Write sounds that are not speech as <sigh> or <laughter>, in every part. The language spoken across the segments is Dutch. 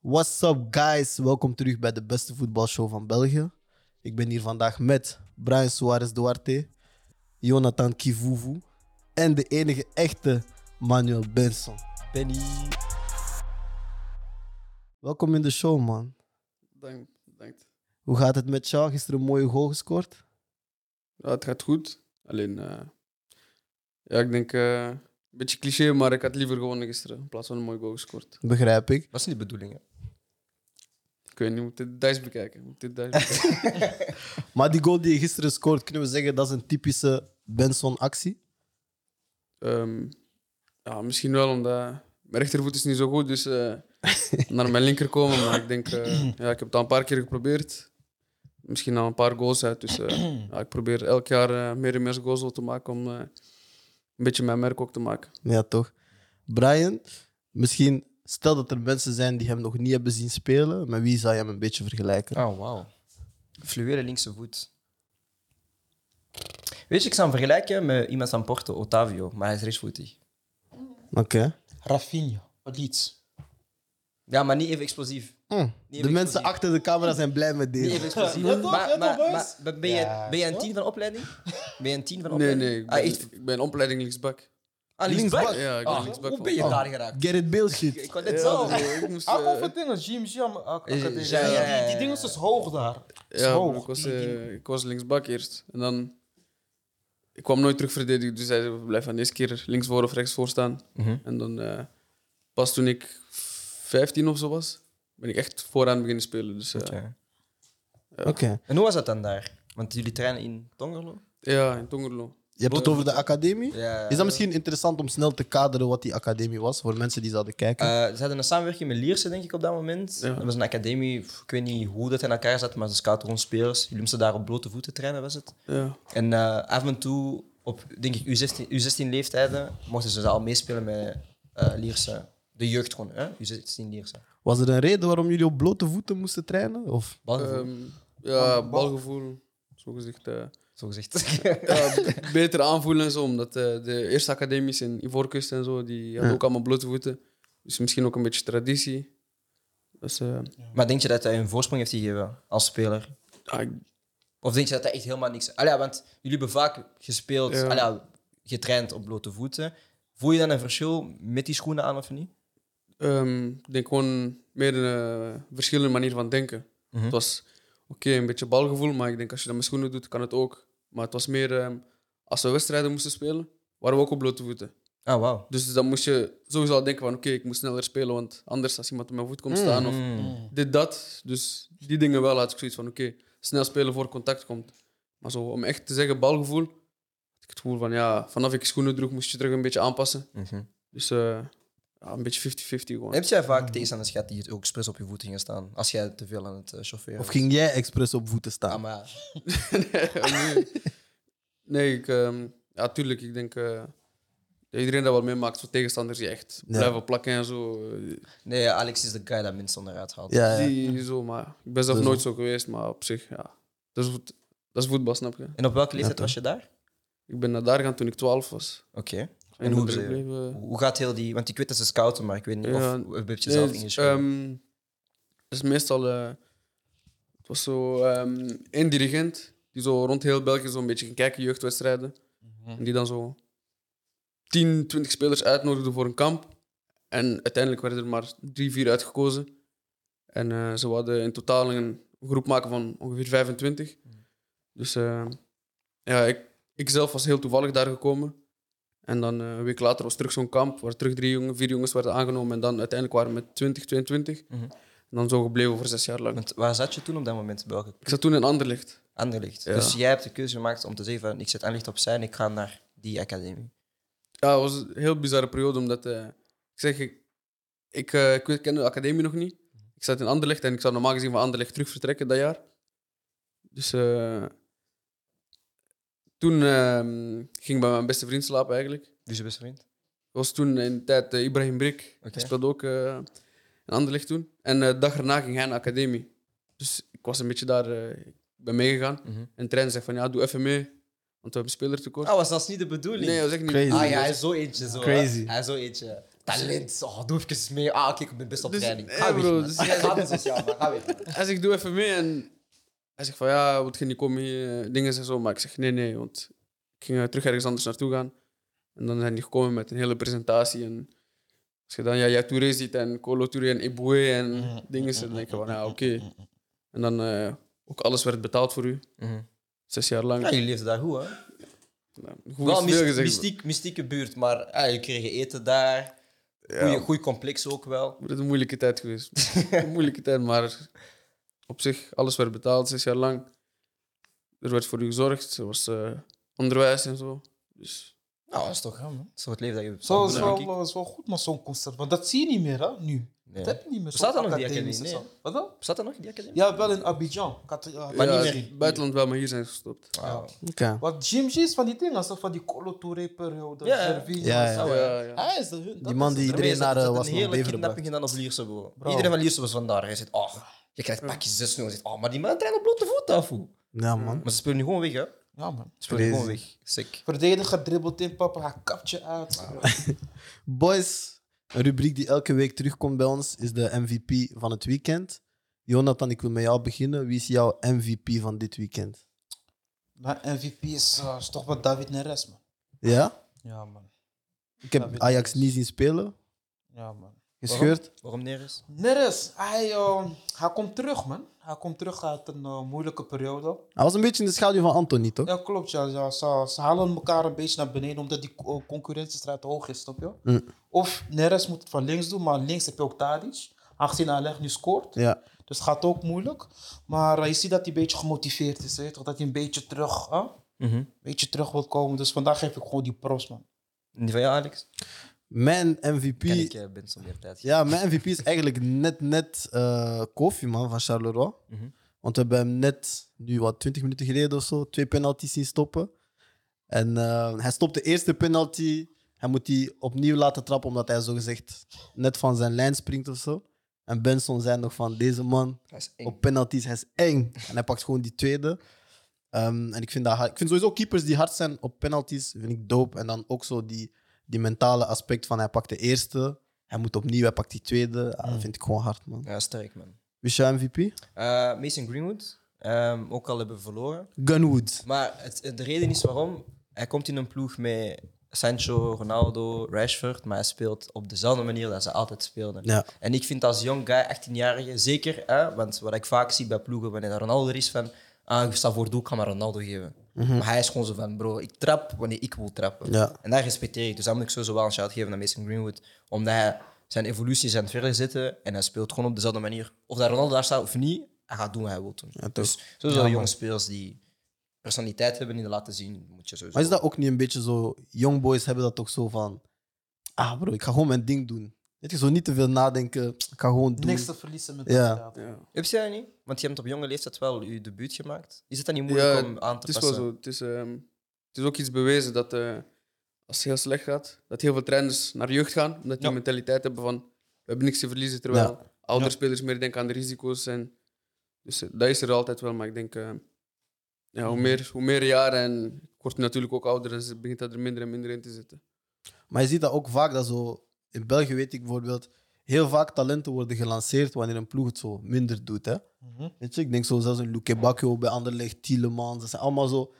What's up, guys? Welkom terug bij de beste voetbalshow van België. Ik ben hier vandaag met Brian Suarez Duarte, Jonathan Kivuvu en de enige echte Manuel Benson. Benny. Welkom in de show, man. Dank, bedankt. Hoe gaat het met jou? Gisteren een mooie goal gescoord. Ja, het gaat goed. Alleen, eh, ja, ik denk eh, een beetje cliché, maar ik had liever gewonnen gisteren. In plaats van een mooi goal gescoord. Begrijp ik. was niet de bedoeling, hè? Ik weet niet, moet dit Dijs bekijken. Moet dit Dijs bekijken. Maar die goal die je gisteren scoort, kunnen we zeggen dat is een typische Benson-actie. Ehm, ja, misschien wel, omdat mijn rechtervoet is niet zo goed. Dus eh, naar mijn linker komen. Maar ik denk, eh, ja, ik heb het al een paar keer geprobeerd. Misschien al een paar goals uit. Dus eh, ja, ik probeer elk jaar eh, meer en meer goals wel te maken om eh, een beetje mijn merk ook te maken. Ja, toch? Brian, misschien stel dat er mensen zijn die hem nog niet hebben zien spelen. Met wie zou je hem een beetje vergelijken? Oh, wauw. Fluwele linkse voet. Weet je, ik zou hem vergelijken met iemand van Porto, Otavio, maar hij is rechtsvoetig. Oké. Rafinha, Leeds. Ja, maar niet even explosief. Hmm. De heb ik mensen gezien. achter de camera zijn blij met Niet deze. even <laughs> explosief. Ja, toch? Ja, maar, toch, maar, boys? maar- maar ben, je, Ja. ben je een tien van opleiding? Ben je een tien van Nee, opleiding? nee, ik Ah, ben, echt? ik ben opleiding linksback. Ah, Linksback? linksback? Ja, ik ben Ah, linksback Hoe van- ben je Oh. daar geraakt? Gerrit Bale Ik shit. kon net zo. Ja, ik moest, Hij eh, komt van dingen, Jim, Jim. ah, Ja, ah, ja, ja, ja. Die, die ding is dus hoog daar. Is Ja, maar hoog. ik was, Die- die- eh, ik was linksbak eerst. En dan... Ik kwam nooit terug verdedigen, dus hij zei, blijf aan deze keer links voor of rechts voor staan. Mhm. En dan, eh, pas toen ik 15 of zo was, ben ik echt vooraan beginnen spelen. Dus eh, Oké. Oké. En hoe was dat dan daar? Want jullie trainen in Tongerlo? ja, in Tongerlo. Je hebt het over de academie. Ja. Is dat misschien interessant om snel te kaderen wat die academie was voor mensen die zouden kijken? Eh, ze hadden een samenwerking met Lierse, denk ik, op dat moment. Ja. Dat was een academie, pff, ik weet niet hoe dat in elkaar zat, maar ze scouten gewoon spelers. Jullie moesten daar op blote voeten trainen, was het. Ja. En eh, af en toe, op denk ik U16, U16-leeftijden, mochten ze al meespelen met eh, Lierse. De jeugd gewoon, hè? U16-Lierse. Was er een reden waarom jullie op blote voeten moesten trainen? Of? Ehm, ja, balgevoel. Zo gezegd. eh, zo gezegd. ja, ja, b- Eh, beter aanvoelen en zo. Omdat eh, de eerste academies in Ivoorkust en zo, die hadden Ja. ook allemaal blote voeten. Dus misschien ook een beetje traditie. Dus, eh, <laughs> Maar denk je dat hij een voorsprong heeft gegeven als speler? ja, ik Of denk je dat hij echt helemaal niks... Allee, want jullie hebben vaak gespeeld, Ja. allee, getraind op blote voeten. Voel je dan een verschil met die schoenen aan of niet? Ehm, ik denk gewoon meer een eh, verschillende manier van denken. Mhm. Het was oké, een beetje balgevoel, maar ik denk als je dat met schoenen doet, kan het ook. Maar het was meer ehm, als we wedstrijden moesten spelen, waren we ook op blote voeten. Ah, wauw. Dus dan moest je sowieso al denken van oké, ik moet sneller spelen, want anders als iemand op mijn voet komt staan of Mm. dit, dat. Dus die dingen wel had ik zoiets van oké, snel spelen voor contact komt. Maar zo, om echt te zeggen balgevoel, had ik het gevoel van ja, vanaf ik schoenen droeg moest je terug een beetje aanpassen. Mhm. Dus eh, ja, een beetje 50-50 gewoon. Heb jij vaak tegenstanders gehad die het ook expres op je voeten gingen staan? Als jij te veel aan het eh, chaufferen Of was? ging jij expres op voeten Ah, staan? maar... <laughs> nee, nee ik, ehm, ja, tuurlijk. Ik denk eh, dat iedereen dat wel meemaakt voor tegenstanders die echt Ja. blijven plakken en zo. eh, Nee, Alex is de guy dat mensen onderuit haalt. Ja, ja. Die, zo maar ik ben zelf Dus- nooit zo geweest, maar op zich, ja. Dat is, voet- dat is voetbal, snap je? En op welke leeftijd was je daar? Ik ben naar daar gaan toen ik 12 was. Oké. En, hoe hoe ben je? gebleven. Hoe gaat heel die... Want ik weet dat ze scouten, maar ik weet niet Ja, of... Heb je het Nee, jezelf het is, ingeschreven? ehm, het is meestal. eh, het was zo ehm, één dirigent die zo rond heel België zo'n beetje ging kijken, jeugdwedstrijden. Mhm. En die dan zo 10, 20 spelers uitnodigde voor een kamp. En uiteindelijk werden er maar drie, vier uitgekozen. En eh, ze hadden in totaal een groep maken van ongeveer 25. Dus eh, ja, ik, ik zelf was heel toevallig daar gekomen. En dan eh, een week later was terug zo'n kamp waar terug drie jongen, vier jongens werden aangenomen. En dan uiteindelijk waren we met 20, 22. Mhm. En dan zo gebleven voor zes jaar lang. Want waar zat je toen op dat moment? Bij welke? Ik zat toen in Anderlecht. Anderlicht. Ja. Dus jij hebt de keuze gemaakt om te zeggen van... Ik zet Anderlicht opzij en ik ga naar die academie. Ja, het was een heel bizarre periode, omdat eh, ik zeg, ik, ik, eh, ik weet- kende de academie nog niet. Ik zat in Anderlecht en ik zou normaal gezien van Anderlecht terug vertrekken dat jaar. Dus eh, toen ehm, ging ik bij mijn beste vriend slapen eigenlijk. Dus je beste vriend? Dat was toen in de tijd eh, Ibrahim Brik. Oké. Hij speelde ook eh in Anderlecht toen. En eh, de dag erna ging hij naar de academie. Dus ik was een beetje daar, eh, ik ben meegegaan. Mhm. En de trainer zei van, ja, doe even mee, want we hebben spelertekort. Ah, was dat niet de bedoeling? nee, dat was echt niet. Crazy. Ah ja, hij is zo eentje. Zo, hè? Crazy. Hij is zo eentje. Talent. Oh, doe even mee. Ah, oké, ik ben best op Dus- training. eh, Ga weg, bro, man. dus- Ga weg, sociaal, man. Ga weg. Hij zegt, doe even mee. En hij zegt van, ja, moet je niet komen hier, eh, dingen en zo. Maar ik zeg, nee, nee, want ik ging eh, terug ergens anders naartoe gaan. En dan zijn die gekomen met een hele presentatie. En als je dan Yaya Touré ziet en Colo Touré en Eboué en dingen, dan denk je van, ja, oké. En dan eh, ook alles werd betaald voor u. Mhm. Zes jaar lang. Ja, jullie leefden daar goed, hè? Goed Wel is myst- veel gezegd. mystiek, mystieke buurt, maar ah, je kreeg eten daar. Goeie, goeie complex ook wel. Het is een moeilijke tijd geweest. een moeilijke tijd, maar op zich, alles werd betaald, zes jaar lang. Er werd voor u gezorgd, er was eh, onderwijs en zo. Dus Nou, dat is toch Ja, man. dat is toch het leven dat je hebt. Zo is Ja, wel, kijk. eh, is wel goed, maar zo'n concert. Want dat zie je niet meer, hè, nu. Nee. Dat heb je niet meer. Bestaat zo'n dat nog, die academisch academie? en zo. Wat dan? Zat er nog in die academie? Ja, wel in Abidjan. Ik had, eh, had ja, ik niet gezien. het buitenland wel, maar hier zijn ze gestopt. Wauw. Oké. Wat Jim G is van die dingen, zo van die Colo Touré-periode. Ja, ja. Gervinho, Ja, ja. zo. Ja, eh, ja, ja. Hij is de hun. Die man die iedereen naar eh, was een naar hele Beveren kidnapping bracht. gedaan op Lierse, bro. Bro. Iedereen van Lierse was vandaar. Hij zegt, oh, je krijgt pakjes zes nu. Hij zegt, oh, maar die man traint op blote voet af. hoe? Ja, man. Maar ze spelen nu gewoon weg, hè? Ze Ja, man. spelen nu Crazy. gewoon weg. Sick. Verdediger dribbelt in, papa, hij kapt je uit. Boys, een rubriek die elke week terugkomt bij ons is de MVP van het weekend. Jonathan, ik wil met jou beginnen. Wie is jouw MVP van dit weekend? Mijn MVP is, eh, is toch wat David Neres, man. Ja? Ja, man. Ik heb David Ajax Neres. niet zien spelen. Ja, man. Gescheurd. Waarom nergens? Neres, hij, eh, hij komt terug, man. Hij komt terug uit een eh, moeilijke periode. Hij was een beetje in de schaduw van Anthony, toch? Ja, klopt. Ja, ja. Ze, ze halen elkaar een beetje naar beneden omdat die eh, concurrentiestrijd hoog is, snap je? Mm. Of Neres moet het van links doen, maar links heb je ook Tadic. Aangezien Alleg nu scoort. Ja. Dus het gaat ook moeilijk. Maar eh, je ziet dat hij een beetje gemotiveerd is. Weet je toch? Dat hij een beetje terug, hè? een beetje terug wil komen. Dus vandaag geef ik gewoon die props, man. Die van jou, Alex? Mijn MVP... Ken ik eh, Benson meer tijd. Ja, mijn MVP is eigenlijk net, net eh Kofi, man, van Charleroi. Mhm. Want we hebben hem net, nu wat, 20 minuten geleden of zo, twee penalties zien stoppen. En eh, hij stopt de eerste penalty. Hij moet die opnieuw laten trappen, omdat hij zogezegd net van zijn lijn springt of zo. En Benson zei nog van, deze man Hij is eng. op penalties, hij is eng. En hij pakt gewoon die tweede. Ehm, en ik vind, dat, hard- ik vind sowieso keepers die hard zijn op penalties, vind ik dope. En dan ook zo die, die mentale aspect van hij pakt de eerste, hij moet opnieuw, hij pakt die tweede. Ah, Dat vind ik gewoon hard, man. Ja, sterk, man. Wie is jouw MVP? Eh, Mason Greenwood. ehm, ook al hebben we verloren. Gunwood. Maar het, de reden is waarom. Hij komt in een ploeg met Sancho, Ronaldo, Rashford. Maar hij speelt op dezelfde manier dat ze altijd speelden. Ja. En ik vind als young guy, 18-jarige, zeker. Hè, want wat ik vaak zie bij ploegen wanneer er Ronaldo er is, van. Ah, ik sta voor het doel, ik ga maar Ronaldo geven. Maar hij is gewoon zo van, bro, ik trap wanneer ik wil trappen. Mhm. Ja. En dat respecteer ik. Dus daar moet ik sowieso wel een shout geven aan Mason Greenwood. Omdat hij zijn evolutie is aan het verder zitten. En hij speelt gewoon op dezelfde manier. Of dat Ronaldo daar staat of niet, hij gaat doen wat hij wil doen. dus sowieso jonge spelers die personaliteit hebben en die laten zien, moet je sowieso... Maar is dat ook niet een beetje zo... Young boys hebben dat toch zo van... Ah bro, ik ga gewoon mijn ding doen. Weet je, zo niet te veel nadenken. Ik ga gewoon doen. Niks te verliezen met Ja. dat. Ja. Ja. Heb je dat niet? Want je hebt op jonge leeftijd wel je debuut gemaakt. Is het dan niet moeilijk Ja, om aan te Het is wel passen? zo. Het is, ehm, het is ook iets bewezen dat eh, als het heel slecht gaat, dat heel veel trainers naar jeugd gaan, omdat die Ja. mentaliteit hebben van we hebben niks te verliezen, terwijl oudere spelers meer denken aan de risico's. En, dus eh, dat is er altijd wel, maar ik denk, eh, ja, hoe, meer, hoe meer jaren en ik word natuurlijk ook ouder, dus begint dat er minder en minder in te zitten. Maar je ziet dat ook vaak dat zo. In België weet ik bijvoorbeeld. Heel vaak talenten worden gelanceerd wanneer een ploeg het zo minder doet. Hè? Weet je, ik denk zo zelfs een Luke Bakio bij Anderlecht, Tielemans. Dat zijn allemaal zo.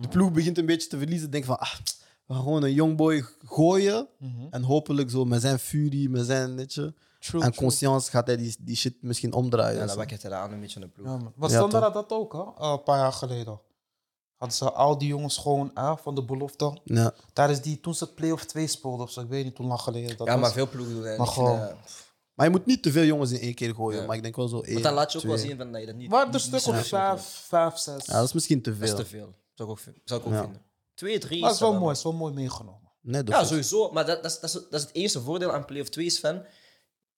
De ploeg begint een beetje te verliezen. Denk van, ah, we gaan gewoon een jongboy gooien. En hopelijk zo met zijn furie, met zijn, weet je. True, en conscience gaat hij die, die shit misschien omdraaien. Ja, en dat zo. wakkert hij aan een beetje een ploeg. Ja, man. Was Ja, Standaard had dat ook, hè? Eh, een paar jaar geleden. Hadden ze al die jongens gewoon eh, van de belofte. Ja. Tijdens die, toen ze play-off 2 speelden of zo, ik weet niet hoe lang geleden dat Ja, was. maar veel ploegen doen dat. Maar Ik vind, gewoon- eh, pff. Maar je moet niet te veel jongens in één keer gooien. Ja. Maar ik denk wel zo één. Want dan laat je ook wel twee. zien van dat je dat niet... Waar er niet- stuk niet zo of goed moet doen. vijf, vijf, zes. Ja, dat is misschien te Dat is veel. te veel. Zou ik ook, vin- zou ik ook Ja. vinden. Twee, drie. maar het is wel dan- mooi, het is wel mooi meegenomen. Nee, dat Ja, is- sowieso. Maar dat, dat, is, dat, is, dat is het eerste voordeel aan Play of 2 is van...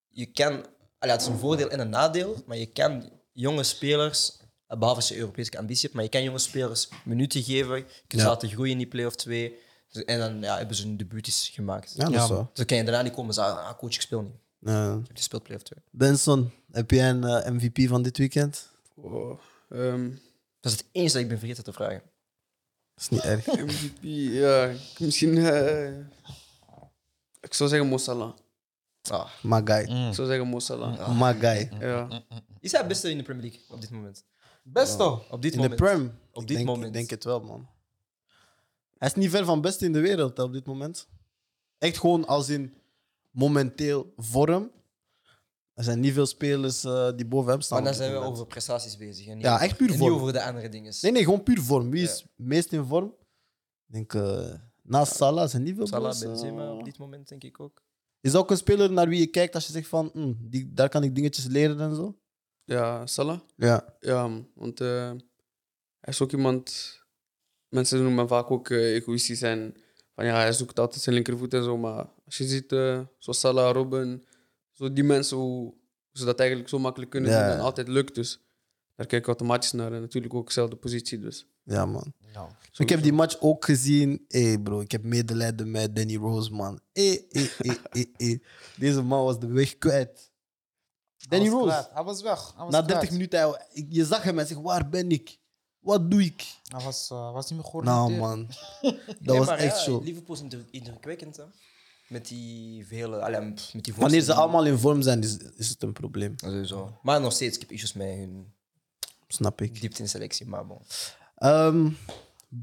Je kan... allee, het is een voordeel en een nadeel. Maar je kan jonge spelers... eh, Behalve als je Europese ambitie hebt. Maar je kan jonge spelers minuten geven. Je kunt ze Ja. laten groeien in die Play of 2. Dus- En dan ja, hebben ze hun debuutjes gemaakt. ja, dat Ja, is zo. Dus dan kan je daarna niet komen en zeggen... Ah, coach, ik speel niet. Ja. Je speelt Play of 2. Benson, heb jij een eh, MVP van dit weekend? Oh, ehm, Dat is het enige dat ik ben vergeten te vragen. <laughs> Dat is niet erg. MVP, ja, misschien eh, Ik zou zeggen Mo Salah. Ah, My guy. Ik zou zeggen Mo Salah. My guy. Ja. is hij het beste in de Premier League op dit moment? Best al. Op dit In de moment. Prem. Op Ik dit denk, moment. Ik denk het wel, man. Hij is niet ver van best in de wereld hè, op dit moment. Echt gewoon als in momenteel vorm. Er zijn niet veel spelers eh, die boven hem staan. Maar dan op dit zijn we moment. over prestaties bezig. En niet, Ja, echt puur en niet vorm. over de andere dingen. Nee, nee, gewoon puur vorm. Wie is meest in vorm? Ik denk, eh, naast Salah zijn niet veel Salah, boys, Benzema op eh. dit moment denk ik ook. Is dat ook een speler naar wie je kijkt als je zegt van, hm, die, daar kan ik dingetjes leren en zo? ja, Salah. Ja. Ja, man. want eh, hij is ook iemand. Mensen noemen hem vaak ook eh, egoïstisch en van ja, hij zoekt altijd zijn linkervoet en zo. Maar als je ziet, eh, zoals Salah, Robin, zo die mensen, hoe ze dat eigenlijk zo makkelijk kunnen Ja, doen en ja. altijd lukt. Dus daar kijk ik automatisch naar en natuurlijk ook dezelfde positie. Dus. Ja, man. Dus Nou. Ik heb die match ook gezien. Hé, bro, ik heb medelijden met Danny Rose, man. Hé, hé, hé, hé, hé. Deze man was de weg kwijt. Danny Hij was Rose. kwaad. Hij was weg. Hij was Na kwaad. 30 minuten, hij- ik- je zag hem en zegt, waar ben ik? Wat doe ik? Hij was, eh, was niet meer georiënteerd. Nou, man. <laughs> Dat was echt zo. Liverpool is indru- indrukwekkend. Hè? Met die vele... allee, pff, met die Wanneer ze voorstellen. allemaal in vorm zijn, is, is het een probleem. Ja, Sowieso. Maar nog steeds, ik heb issues met hun Snap ik. diepte in selectie. Maar bon. Ehm,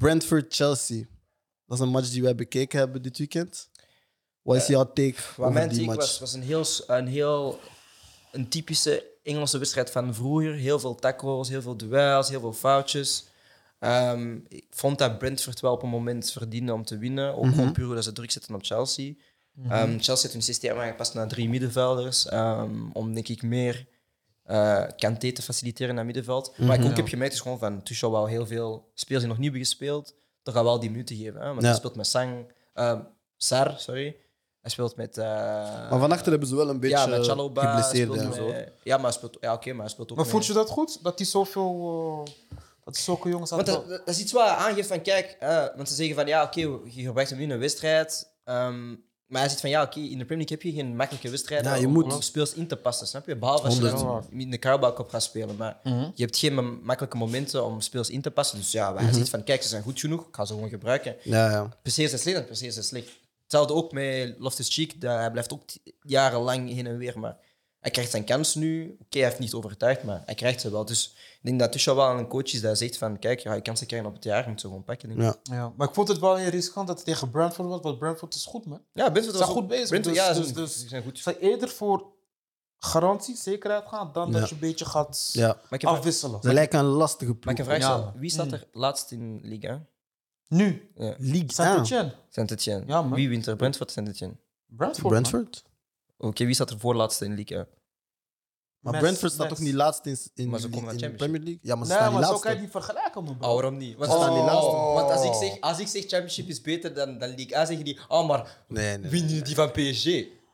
Brentford-Chelsea. Dat is een match die wij bekeken hebben dit weekend. Wat Eh, is jouw take Wat over mijn die take match? was, was een heel, s- een heel een typische Engelse wedstrijd van vroeger. Heel veel tackles, heel veel duels, heel veel foutjes. Ehm, ik vond dat Brentford wel op een moment verdiende om te winnen. Ook Mhm. gewoon puur dat ze druk zetten op Chelsea. Ehm, Chelsea heeft hun systeem aangepast naar drie middenvelders. ehm, om denk ik meer eh Kanté te faciliteren naar middenveld. Wat Mhm. ik ook heb gemerkt is gewoon van Tuchel wel heel veel spelers die nog niet hebben gespeeld. Toch al wel die minuten geven. Hè? Want Ja. hij speelt met Sang, ehm, Sar, sorry. Hij speelt met... eh, Maar vanachter hebben ze wel een beetje ja, met eh, Chalobah, geblesseerd en speelt zo. met- Ja, maar hij speelt, ja, oké, maar hij speelt ook Maar met- vond je dat goed? Dat hij zoveel... eh, dat hij zulke jongens had. Want dat, dat is iets wat aangeeft van, kijk, eh, want ze zeggen van, ja, oké, je gebruikt hem nu in een wedstrijd. ehm, maar hij zegt van, ja, oké, in de Premier League heb je geen makkelijke wedstrijden Ja, je om, moet. om nog speels in te passen, snap je? Behalve als je Honderd. dan in de Carabao Cup gaat spelen. Maar je hebt geen ma- makkelijke momenten om speels in te passen. Dus ja, maar Mhm. hij zegt van, kijk, ze zijn goed genoeg, ik ga ze gewoon gebruiken. Ja, ja. Precies en slecht en precies en slecht. Hetzelfde ook met Loftus-Cheek. dat- Hij blijft ook t- jarenlang heen en weer. Maar hij krijgt zijn kans nu. Oké, hij heeft niet overtuigd, maar hij krijgt ze wel. Dus ik denk dat Tuchel wel een coach is dat zegt van... Kijk, ja, je kansen krijgen op het jaar, je moet ze gewoon pakken. denk ik. Ja. Ja, maar ik vond het wel heel riskant dat het tegen Brentford was, want Brentford is goed, man. Ja, Brentford Ze was zijn goed bezig, Brentford, dus- ja, ze dus- zijn- dus- ze zijn goed. Ze zijn eerder voor garantie, zekerheid gaan, dan Ja. dat je een beetje gaat ja. Maar ik heb afwisselen. Ze lijken een lastige mag ik een ploeg. vraag Ja. Mm. stellen? Wie staat er laatst in Liga? Nu, League 1. Saint-Etienne. Saint-Etienne. Ja, man. Wie wint er? Brentford of Saint-Etienne? Brentford, man. Brentford? Oké, wie staat er voorlaatste in Liga? Maar Mes, Brentford staat mes. toch niet laatst in, in, Maar ze in, komen naar in de Championship. Premier League? Ja, maar ze Nee, staan niet maar zo kan je laatst. het niet vergelijken, man. bro. Oh, waarom niet? Want, Ze staan niet laatst. want als, ik zeg, als ik zeg Championship is beter dan, dan Liga, A, zeggen die... Oh, maar Nee, nee. win je die van PSG?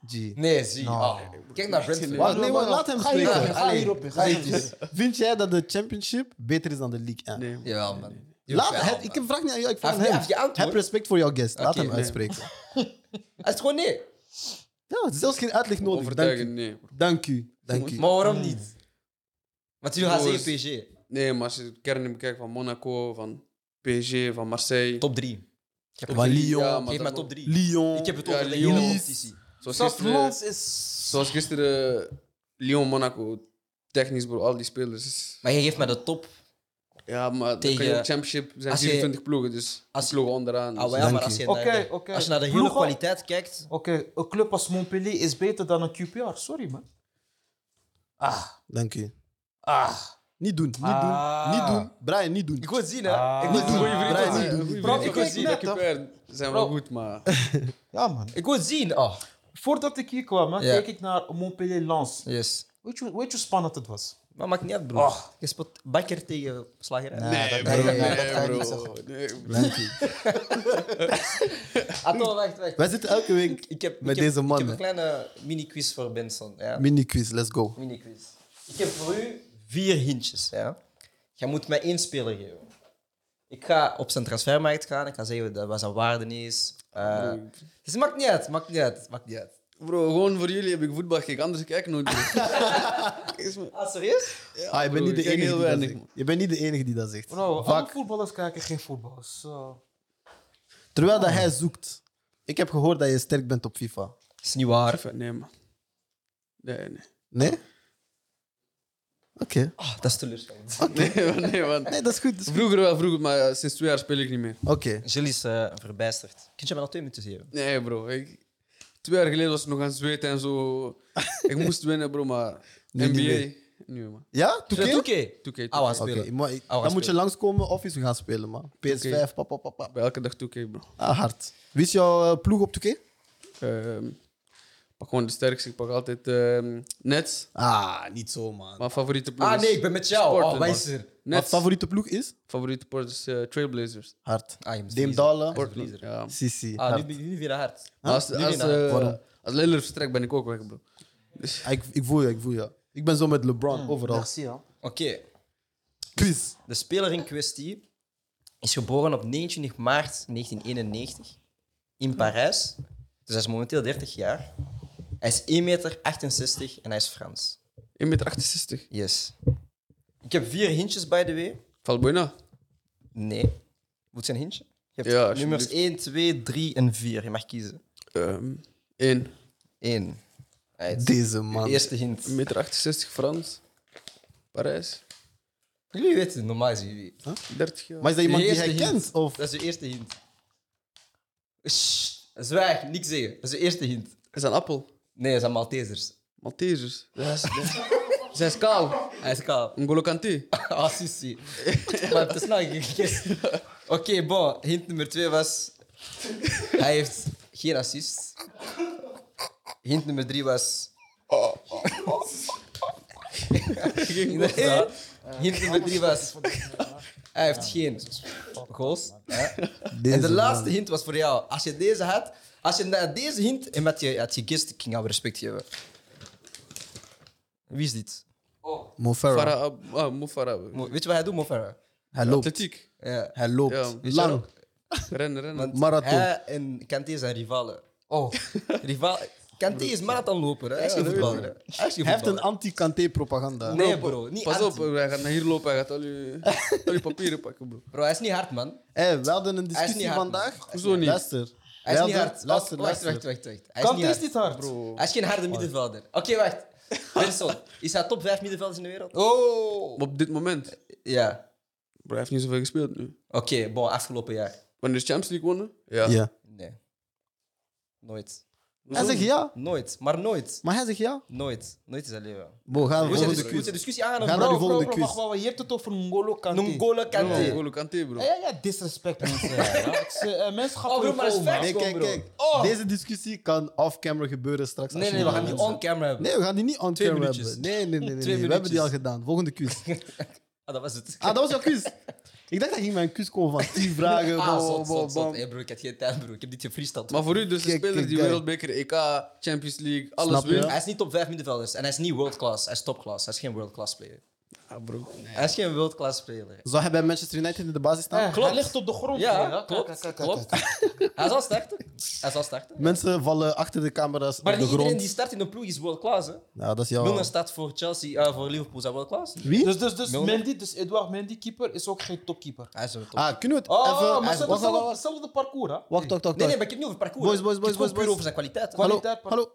G. Nee, zie. Nou. ah, kijk naar Brentford. Wacht, nee, wacht, laat hem Ga hierop spreken. in, ga hierop in, ga hierop in. Vind jij dat de Championship beter is dan de League 1? Nee. Ja, man. Laat, Jawel, het, man. ik vraag niet aan jou, ik vraag Hij heeft- hem. hij heeft geantwoord. Heb respect voor jouw guest. Laat Oké, hem nee. uitspreken. Hij is gewoon nee. Ja, het is zelfs geen uitleg nodig. Dank Overtuigen, u. nee. bro. Dank u. Dank u. Maar waarom niet? Want u gaat Jongens. zeggen PSG. Nee, maar als je de kern bekijkt van Monaco, van PSG, van Marseille. Top 3. Ik heb Van het- Lyon. Ja, maar Geef maar dat- top 3. Lyon. Ik heb het Ja, over de Lyon. hele competitie. Zoals gisteren, Zelfs is... zoals gisteren Lyon-Monaco, technisch bro, al die spelers. is- Maar je geeft mij de top. Ah, Ja, maar dan Tegen- kan je ook championship zijn als je- 24 ploegen, dus als als je- ploegen onderaan. Ah, dus- ja, maar Dank als je. je, Oké, naar de, oké. als je naar de hele Ploegen- kwaliteit kijkt... Oké, een club als Montpellier is beter dan een QPR. Sorry, man. Ah, Dank u. ah. Niet doen. Niet Ah. doen. Niet doen. Brian, niet doen. Ik wil het zien, hè. Ah. Ik wil Niet het doen. zien. Brian, niet doen. Goeie Bro, vriend, ik ook weet zien, net, de QPR zijn wel Bro. goed, maar Ja, man. Ik wil het zien. Oh, Voordat ik hier kwam, hè, Ja. keek ik naar Montpellier-Lens. yes. Ah. Weet je, weet je hoe spannend het was? Maar maakt niet uit, broer. Oh. Je speelt bakker tegen slagerij. Nee, dat- dat- dat ga ik niet bro. Nee, bro. Dank u. Attends, Ah, wacht, wacht. Wij zitten elke week Ik heb, Met ik heb- deze man, Ik heb hè. een kleine mini-quiz voor Benson. Ja. mini-quiz. Let's go. Mini-quiz. Ik heb voor u vier hintjes. Ja. Jij moet mij één speler geven. Ik ga op zijn transfermarkt gaan. Ik ga zeggen dat- wat zijn waarde is. Eh dus het maakt niet uit. Maakt niet uit. Maakt niet uit. Bro, gewoon voor jullie heb ik voetbal gekeken, anders kijk ik nooit meer. Is me- Ah, serieus? ah, je, bent bro, niet ik de kijk enige heel die dat weinig, zegt. man. je bent niet de enige die dat zegt. Bro, alle Vaak. voetballers kijken geen voetbal. Zo. Terwijl dat hij zoekt. Ik heb gehoord dat je sterk bent op FIFA. is niet waar. Even- Nee, man. Nee, nee. <laughs> Nee? Oké. Ah, dat is teleurstellend. Nee, man. Nee, man. Nee, dat is goed. dat is goed. Vroeger wel, vroeger, maar eh, sinds twee jaar speel ik niet meer. Oké. Julie is eh, verbijsterd. Kindje, je me nog twee minuten geven? Nee, bro. Ik, twee jaar geleden was ik nog aan het zweten en zo. ik moest winnen, bro, maar Nu niet NBA. meer. Nu, man. Ja? Oké. Toekeer? Toekei. Ah, was- Oké, spelen. maar ik- dan gaan moet je spelen. langskomen of eens we gaan spelen, man. PS5, papa, papa. Bij elke dag toekei, bro. Ah, hard. Wie is jouw eh, ploeg op 2K? Ehm, ik pak gewoon de sterkste. Ik pak altijd ehm, Nets. Ah, niet zo, man. Mijn favoriete ploeg Ah is nee, ik ben met jou. Sporting, oh, man. wij is er. Wat Nets. favoriete ploeg is? favoriete ploeg is eh, Trailblazers. Hard. Ah, je moet Dame verliezen. Dalen. Hij is Portland, verliezer. Ja. Sissi. Ah, nu, hard. nu, nu weer naar hart. Maar Als, Nu als, weer naar hart. eh, Waarom? als Lillard vertrekt, ben ik ook weg, bro. Dus, Ah, ik, ik voel je, ik voel je. Ik ben zo met LeBron Mm. overal. Merci, hoor. Oké, Quiz. de speler in kwestie is geboren op 29 maart 1991 in Parijs. Dus hij is momenteel 30 jaar. Hij is 1,68 meter en hij is Frans. 1,68 meter. Yes. Ik heb vier hintjes, by the way. Valbuena. Nee. Moet zijn hintje? Je hebt Ja, alsjeblieft. nummers 1, 2, 3 en 4. Je mag kiezen. Ehm 1. 1. Deze man. Eerste hint. 1,68 meter, Frans. Parijs. Jullie weten, normaal is jullie. 30 jaar. Maar is dat iemand die Eerste hij hint. kent? Of? Dat is de eerste hint. Shh, zwijg, niks zeggen. Dat is de eerste hint. is een appel. Nee, dat zijn Maltesers. Maltesers. Dat is- <laughs> dat- Zij is kaal. Hij is <laughs> kaal. N'Golo Kanté. Ah, Sissi. Maar het is nou gegeten. Oké, bon. Hint nummer twee was... Hij heeft geen assist. Hint nummer drie was... Inderdaad. Hint nummer drie was... Hij heeft geen goals. hè. Deze en de man. laatste hint was voor jou. Als je deze had... Als je na deze hint... En met je had gegist, ik ging jou respect geven. Wie is dit? Mo Farah. Farah. Ab- Ah, Mo Farah. Mo- Weet je wat hij doet, Mo Farah? Hij loopt. Atletiek. Ja. Hij loopt. Ja. Weet je Lang. waarom? Rennen, rennen. Want Marathon. Hij en Kanté zijn rivalen. Oh, <laughs> Rival... Kanté is marathonloper, hè? hij is geen voetballer. hè. Hij is geen Hij heeft een voetballer. anti-Kanté-propaganda. Nee, bro. Niet Pas hard. op, bro. hij gaat naar hier lopen. Hij gaat al je, al je papieren pakken, bro. Bro, hij is niet hard, man. Hey, we hadden een Hij is discussie niet hard, man. vandaag. Hoezo niet? Luister. Hij is niet hard. Luister, luister, Oh, wacht, wacht, luister. wacht, wacht. Hij is Kant niet is hard. niet hard. Bro. Hij is geen harde middenvelder. Oké, <laughs> wacht. Wilson, is hij top 5 middenvelders in de wereld? Oh! Maar op dit moment, Ja. bro, hij heeft niet zoveel gespeeld nu. Oké, bon, afgelopen jaar. Wanneer de Champions League wonnen? Ja. Ja. Nee. Nooit. Hij zegt ja. Nooit, maar nooit. Maar hij zegt ja. Nooit. Nooit is hij leven. Bo, gaan we Moet je volgende de moet je quiz. discussie aangaan? Gaan of naar bro? die volgende bro, bro, quiz. wacht, wacht, wacht, je hebt het over N'Golo Kanté. N'Golo Kanté. N'Golo Kanté, bro. Ja, ja, ja, disrespect, mensen. <laughs> Ja, ik zeg, eh, mensen gaan Oh, bro, maar dat is komen. facts, Nee, gewoon, kijk, bro. kijk. Oh. Deze discussie kan off-camera gebeuren straks. als Nee, je nee, we niet gaan die bent. on-camera hebben. Nee, we gaan die niet on-camera minuutjes. hebben. Nee, nee, nee. nee, Twee nee. We hebben die al minuutjes. gedaan. Volgende quiz. Ah, dat was het. Ah, dat was jouw quiz. Ik dacht dat je mij een quiz kon van 10 vragen. <laughs> Ah, bo, zot, bo, zot, bo. zot. Hey, bro, ik had geen tijd, bro. Ik heb dit gefreesteld. Maar voor u dus de Kijk, speler kijk, die kijk. wereldbeker, EK, Champions League, alles Snap je? wint. Ja. Hij is niet top 5 middenvelders. En hij is niet world-class. Hij is top-class. Hij is geen world-class player. Ah, bro. Hij is geen world-class speler. Zou hij bij Manchester United in de basis staan? Eh, Klopt. Hij ligt op de grond. Ja, hè. Kijk, klopt, kijk, kijk, kijk, klopt. kijk. <laughs> Hij zal starten. Hij zal starten. Mensen vallen achter de camera's Maar op de niet iedereen grond. die start in een ploeg is world-class. hè. Ja, dat is jouw... Milner staat voor Chelsea, eh, voor Liverpool. Is hij world-class? Wie? Dus, dus, dus Milner. Mendy, dus Edouard Mendy, keeper, is ook geen topkeeper. Hij is een top. Ah, kunnen we het Oh, even... maar wacht, ze hebben wacht, hetzelfde- wacht, hetzelfde parcours, hè? wacht, wacht, wacht. nee, nee, maar ik heb het niet over parcours. Boys, boys, Ik boys, heb het gewoon boys, puur boys. over zijn kwaliteit. Kwali- Hallo, kwaliteit, maar- hallo.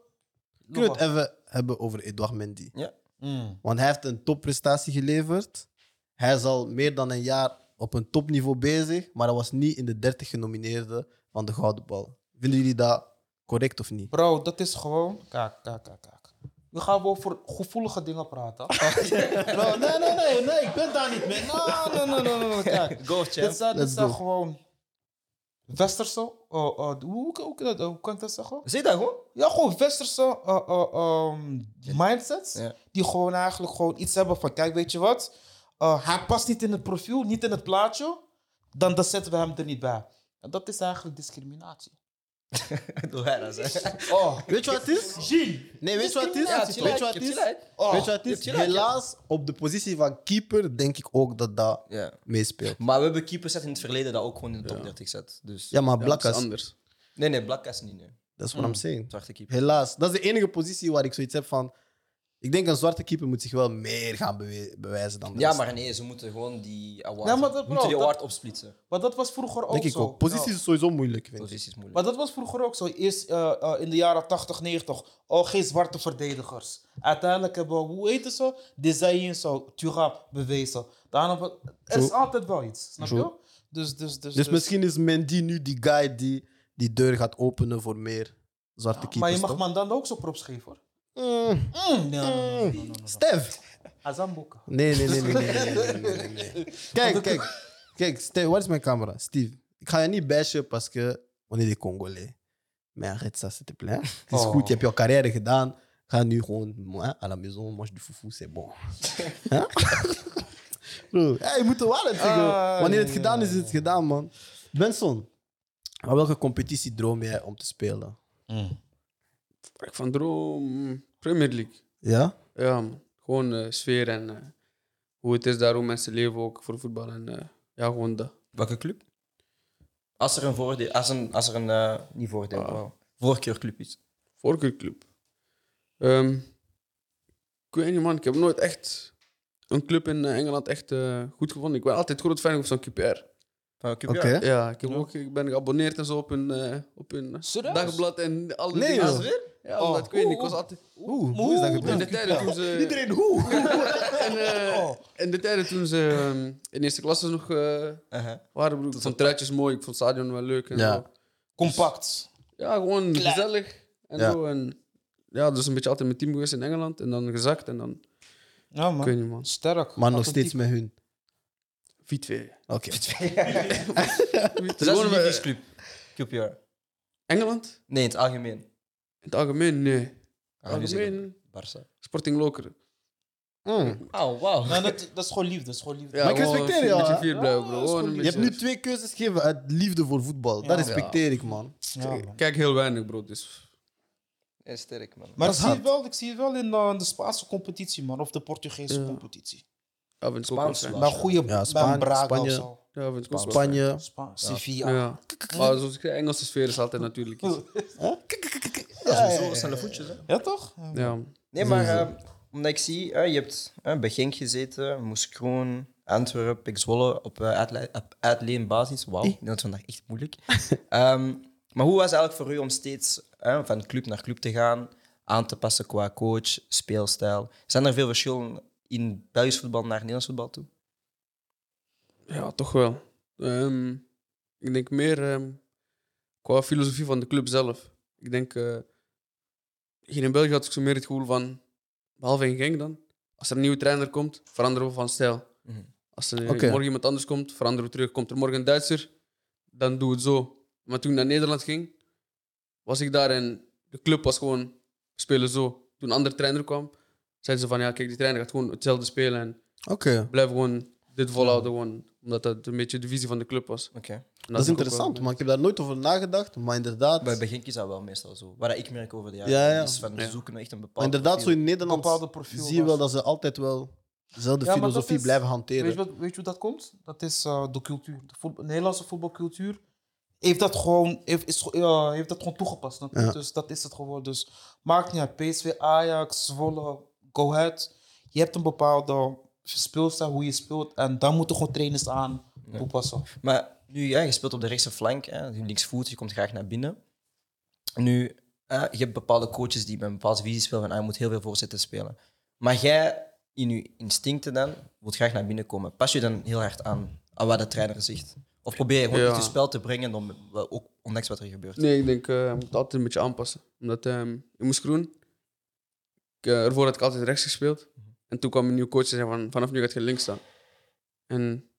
Kunnen we Nog het even hebben over Edouard Mendy? Ja. Mm. Want hij heeft een topprestatie geleverd. Hij is al meer dan een jaar op een topniveau bezig, maar hij was niet in de 30 genomineerden van de Gouden Bal. Vinden jullie dat correct of niet? Bro, dat is gewoon. Kijk, kijk, kijk, kijk. Nu gaan we over gevoelige dingen praten. <laughs> Bro, nee, nee, nee, nee, ik ben daar niet mee. Nee, nee, nee, nee, nee, nee, <laughs> kijk. Go, Dit champ. zijn, dit Let's zijn go. gewoon. Westerse. eh, eh, hoe, hoe, hoe kan dat- hoe kan ik dat zeggen? Zie je dat gewoon? <laughs> Ja, gewoon westerse eh, eh, ehm, mindsets. Ja. Die gewoon eigenlijk gewoon iets hebben van: kijk, weet je wat? Eh, hij past niet in het profiel, niet in het plaatje. Dan, dan zetten we hem er niet bij. En dat is eigenlijk discriminatie. Doe hij dat, hè. Oh, Weet je wat het is? Nee, weet je wat het is? Ja, chill weet uit, je wat het je hebt is? chill uit. Oh, weet je wat je het hebt is? chill uit, ja. Helaas, op de positie van keeper denk ik ook dat dat Ja. meespeelt. Maar we hebben keepers uit in het verleden dat ook gewoon in de top 30 zet. Dus... Ja, maar Ja, dat is Blakkas, anders. Nee, nee, Black is niet. Nee. dat is wat ik zeg. Zwarte keeper. Helaas, dat is de enige positie waar ik zoiets heb van. Ik denk een zwarte keeper moet zich wel meer gaan bewe- bewijzen dan de Ja, rest. maar nee, ze moeten gewoon die award, Ja, maar dat- moeten die bro, award opsplitsen. Maar dat was vroeger ook Denk ik zo. ook. Posities is sowieso moeilijk, vind ik. Positie is moeilijk. Maar dat was vroeger ook zo. Eerst eh, eh, in de jaren 80, 90. Oh, geen zwarte verdedigers. Uiteindelijk hebben we, hoe heet het zo? Desailly en zo, Thuram bewezen. Daarna, be- er is Zo. altijd wel iets, snap Zo. je? Dus, dus, dus, Dus misschien is Mendy nu die guy die die deur gaat openen voor meer zwarte keepers. Maar je mag toch? Mandanda ook zo props geven, hoor. Mm, Mm, nee, nee, nee, nee, nee, nee, nee. Stef! Azamboka. Nee, nee, nee, nee, nee, nee, nee, nee, nee, nee. Kijk, kijk. Kijk, Steve, waar is mijn camera? Steve, ik ga je niet bashen, parce que on est des Congolais. Mais arrête ça, s'il te plaît. Het is Oh. goed, je hebt jouw carrière gedaan. Ga nu gewoon moi, à la maison, mange du foufou, c'est bon. Hè? <laughs> Bro, ja, je moet er wel aan zeggen. Ah, Wanneer het ja, gedaan is, ja, is het gedaan, man. Benson, aan welke competitie droom jij om te spelen? Waar ik van droom, Premier League. Ja? Ja, man. gewoon eh, sfeer en eh, hoe het is daar, hoe mensen leven ook voor voetbal. En eh, ja, gewoon dat. Welke club? Als er een voordeel, als een, als er een eh, niet voordeel, Ah. wel. voorkeurclub is. Voorkeurclub. Ehm, ik weet niet, man. Ik heb nooit echt een club in eh, Engeland echt eh, goed gevonden. Ik ben altijd groot fan van zo'n QPR. Van welke Oké. club? Ja. Ja, ik, heb ook, ik ben geabonneerd en zo op een, eh, op een Serieus? dagblad en al die Nee, dingen. joh. Oh, Ja, omdat, ik weet niet. Ik was altijd... Oeh, hoe is dat In gebeurd? de tijden toen ze... Iedereen hoe? <laughs> Oh. En, eh, in de tijden toen ze ehm, in eerste klasse nog eh, Uh-huh. waren, broer, ik vond truitjes mooi, ik vond het stadion wel leuk en Ja. zo. Compact. Ja, gewoon Klaar. gezellig en Ja. zo. En, ja, dus een beetje altijd met team geweest in Engeland en dan gezakt en dan... Ja, man. Ik weet niet, man. Sterk. Maar nog steeds met hun. Fiet 2. Oké. Dus <laughs> dat is een lievelingsclub. QPR. eh, Engeland? Nee, in het algemeen. In het algemeen, nee. In het Ah, nu zeg ik algemeen, Barca. Sporting Lokeren. Mm. Oh, wauw. Nee, dat, dat is gewoon liefde. Dat is gewoon liefde. Ja, Maar ik gewoon respecteer een jou, beetje hè? fier blijven, bro. Ja, dat is Gewoon goed. een Je hebt nu beetje- twee keuzes gegeven uit liefde voor voetbal. Ja. Dat respecteer ik, man. Ja, man. Ik Kijk heel weinig, bro. Dus. Ja, sterk, man. Maar ik Dat is zie, het hard. wel, ik zie het wel in eh, de Spaanse competitie, man. Of de Portugese Ja. competitie. Ja, vind ik ook wel Spaans fijn. land. Maar een goede bij een Spaan- Braga Spanje. of zo. Ja, vind ik ook wel fijn. Spanje. Spaans. Ja. Maar zoals ik zei, Engelse sfeer is altijd natuurlijk iets. Ja, zo snelle voetjes, hè? Ja, toch? Ja. Nee, Dus, maar eh, omdat ik zie, eh, je hebt eh, bij Genk gezeten, Moes Kroon, Antwerpen, Pek Zwolle op, eh, uitle- op uitleenbasis. Eh. Wauw, dat is vandaag echt moeilijk. <laughs> Ehm, maar hoe was het eigenlijk voor u om steeds eh, van club naar club te gaan, aan te passen qua coach, speelstijl? Zijn er veel verschillen in Belgisch voetbal naar Nederlands voetbal toe? ja, toch wel. Ehm, ik denk meer ehm, qua filosofie van de club zelf. Ik denk, eh, hier in België had ik zo meer het gevoel van, behalve in Genk dan, als er een nieuwe trainer komt, veranderen we van stijl. Mhm. Als er eh, Oké. morgen iemand anders komt, veranderen we terug. Komt er morgen een Duitser, dan doen we het zo. Maar toen ik naar Nederland ging, was ik daar en de club was gewoon, we spelen zo. Toen een andere trainer kwam, zeiden ze van, ja kijk, die trainer gaat gewoon hetzelfde spelen en Oké. blijf gewoon dit volhouden. Gewoon, omdat dat een beetje de visie van de club was. En Oké. Dat is interessant, man. Ik heb daar nooit over nagedacht, maar inderdaad. Bij, bij Genk is dat wel meestal zo. Wat ik merk over de jaren Ja, ja. is van Ja. zoeken naar echt een Maar bepaald inderdaad, zo profiel. in Nederland Bepaalde profiel zie je wel was. dat ze altijd wel dezelfde Ja, maar dat filosofie is- blijven Weet, je hanteren. wat, weet je hoe dat komt? Dat is eh, de cultuur. De, voetbal- de Nederlandse voetbalcultuur heeft dat gewoon, heeft, is, ja, heeft dat gewoon toegepast. snap je? Ja. Dus dat is het gewoon. Dus maakt niet uit. PSV, Ajax, Zwolle, Go Ahead. Je hebt een bepaalde speelstijl, hoe je speelt. En daar moeten gewoon trainers aan toepassen. Maar nu, ja, je speelt op de rechtse flank, hè, je linksvoet, je komt graag naar binnen. Nu, hè, je hebt bepaalde coaches die met een bepaalde visie spelen van ah, je moet heel veel voorzetten spelen. Maar jij, in je instincten dan, wilt graag naar binnen komen. Pas je dan heel hard aan, aan wat de trainer zegt? Of probeer je gewoon Ja. echt je spel te brengen, om, wel, ook ondanks wat er gebeurt? Nee, ik denk, eh, ik moet altijd een beetje aanpassen. Omdat ehm, ik moest groen. Ik, eh, ervoor had ik altijd rechts gespeeld. Mhm. En toen kwam een nieuwe coach en zei van, vanaf nu gaat je links staan. En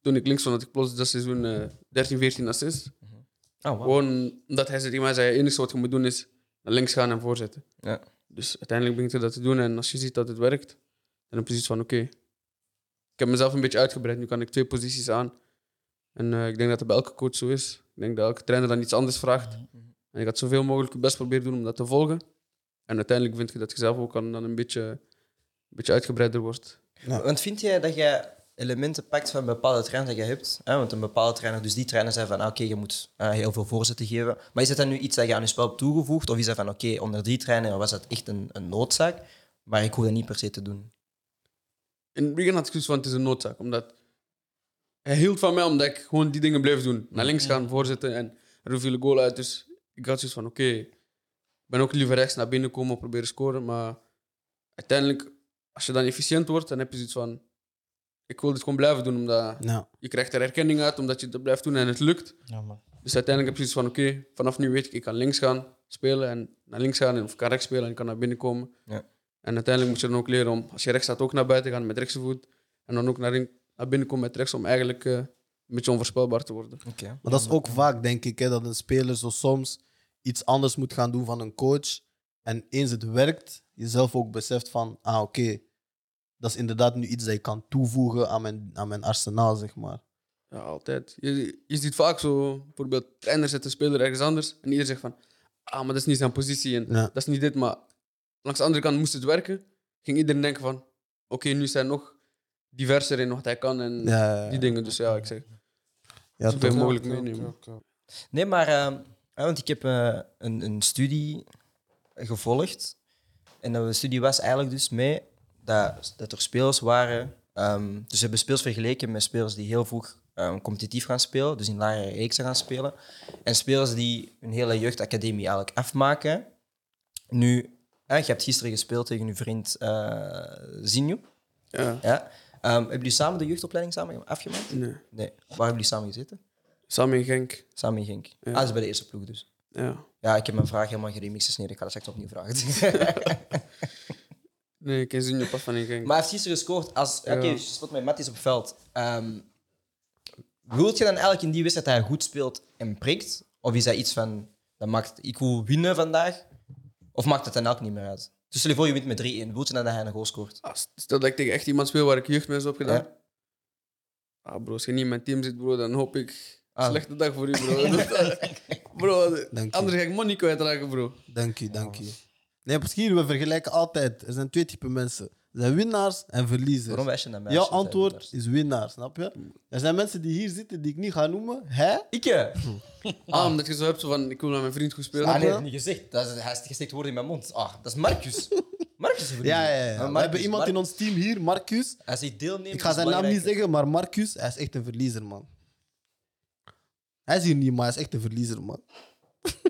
toen ik links stond, had ik plots dat seizoen eh, 13, 14 assists. Oh, wauw. Gewoon omdat hij zei tegen mij zei, het enige wat je moet doen is naar links gaan en voorzetten. Ja. Dus uiteindelijk begint hij dat te doen. En als je ziet dat het werkt, dan heb je precies van, oké. Ik heb mezelf een beetje uitgebreid. Nu kan ik twee posities aan. En eh, ik denk dat het bij elke coach zo is. Ik denk dat elke trainer dan iets anders vraagt. En ik had zoveel mogelijk je best proberen doen om dat te volgen. En uiteindelijk vind je dat je zelf ook dan dan een beetje, een beetje uitgebreider wordt. Want vind jij dat jij elementen pakt van bepaalde trainers dat je hebt? Hè? Want een bepaalde trainer, dus die trainer zei van ah, oké, je moet eh, heel veel voorzetten geven. Maar is dat dan nu iets dat je aan je spel hebt toegevoegd? Of is dat van oké, onder die trainer was dat echt een, een noodzaak? Maar ik hoef dat niet per se te doen. In het begin had ik zoiets van, het is een noodzaak. Omdat hij hield van mij omdat ik gewoon die dingen bleef doen. Naar links gaan, voorzitten en er viel een goal uit. Dus ik had zoiets van, oké, ik ben ook liever rechts naar binnen komen, proberen scoren. Maar uiteindelijk, als je dan efficiënt wordt, dan heb je zoiets van, ik wil dit gewoon blijven doen. Omdat Ja. je krijgt er erkenning uit, omdat je het blijft doen en het lukt. Ja, man. Dus uiteindelijk heb je zoiets van, oké, vanaf nu weet ik, ik kan links gaan spelen en naar links gaan. en- Of ik kan rechts spelen en ik kan naar binnen komen. Ja. En uiteindelijk moet je dan ook leren om, als je rechts staat, ook naar buiten gaan met rechtse voet. En dan ook naar, in- naar binnen komen met rechts, om eigenlijk eh, een beetje onvoorspelbaar te worden. Oké. Maar dat is ook vaak, denk ik, hè, dat een speler zo soms iets anders moet gaan doen van een coach. En eens het werkt, jezelf ook beseft van, ah oké, dat is inderdaad nu iets dat ik kan toevoegen aan mijn, aan mijn arsenaal, zeg maar. Ja, altijd. Je, je ziet vaak zo, bijvoorbeeld, trainer zet een speler ergens anders. En ieder zegt van, ah, maar dat is niet zijn positie en Ja. dat is niet dit. Maar langs de andere kant moest het werken. Ging iedereen denken van, oké, nu is hij nog diverser in wat hij kan en Ja, die dingen. Dus ja, ik zeg, ja, zoveel toch. mogelijk meenemen. Nee, maar eh, ja, want ik heb eh, een, een studie gevolgd. En de studie was eigenlijk dus mee dat, dat er spelers waren. ehm, dus ze hebben spelers vergeleken met spelers die heel vroeg ehm, competitief gaan spelen, dus in lagere reeksen gaan spelen. En spelers die hun hele jeugdacademie eigenlijk afmaken. Nu, eh, je hebt gisteren gespeeld tegen uw vriend eh Zinho. Ja, Ja. Ehm, hebben jullie samen de jeugdopleiding samen afgemaakt? nee. Nee. Waar hebben jullie samen gezeten? Samen in Genk. Samen in Genk. Ah, dat is bij de eerste ploeg dus. Ja. Ja, ik heb mijn vraag helemaal geremixed gesneden. Ik ga dat straks opnieuw vragen. <laughs> Nee, ik ken Zinho pas van in Genk. maar hij heeft gisteren gescoord. Als, Oké, Ja. je speelt met Matties op het veld. Ehm wilt je dan eigenlijk in die wedstrijd dat hij goed speelt en prikt? Of is dat iets van, dat maakt, ik wil winnen vandaag? Of maakt het dan ook niet meer uit? Dus stel je voor, je wint met 3-1. Wilt je dan dat hij een goal scoort? Ah, stel dat ik tegen echt iemand speel waar ik jeugd mee heb gedaan. Ja. Ah bro, als je niet in mijn team zit, bro, dan hoop ik... Ah. Slechte dag voor u, bro. bro, Dank je. anders ga ik money kwijtraken, bro. Dank je, dank je. Nee, misschien, we vergelijken altijd. Er zijn twee typen mensen. Er zijn winnaars en Waarom verliezers. wijs je dan mij? Jouw als je het antwoord hebt? is winnaar, snap je? Er zijn mensen die hier zitten die ik niet ga noemen. Hè? Ik? eh? Ah, omdat je zo hebt zo van, ik wil met mijn vriend goed spelen. Ah, nee, je? dat heb ik niet gezegd. Dat is, hij is gesteekt woord in mijn mond. Ah, dat is Marcus. <laughs> Marcus is een Ja, ja, ja. vriend. Marcus, We hebben iemand in Marcus. ons team hier, Marcus. Hij zegt deelnemen. Ik ga is zijn naam niet belangrijker. zeggen, maar Marcus, hij is echt een verliezer, man. Hij is hier niet, maar hij is echt een verliezer, man.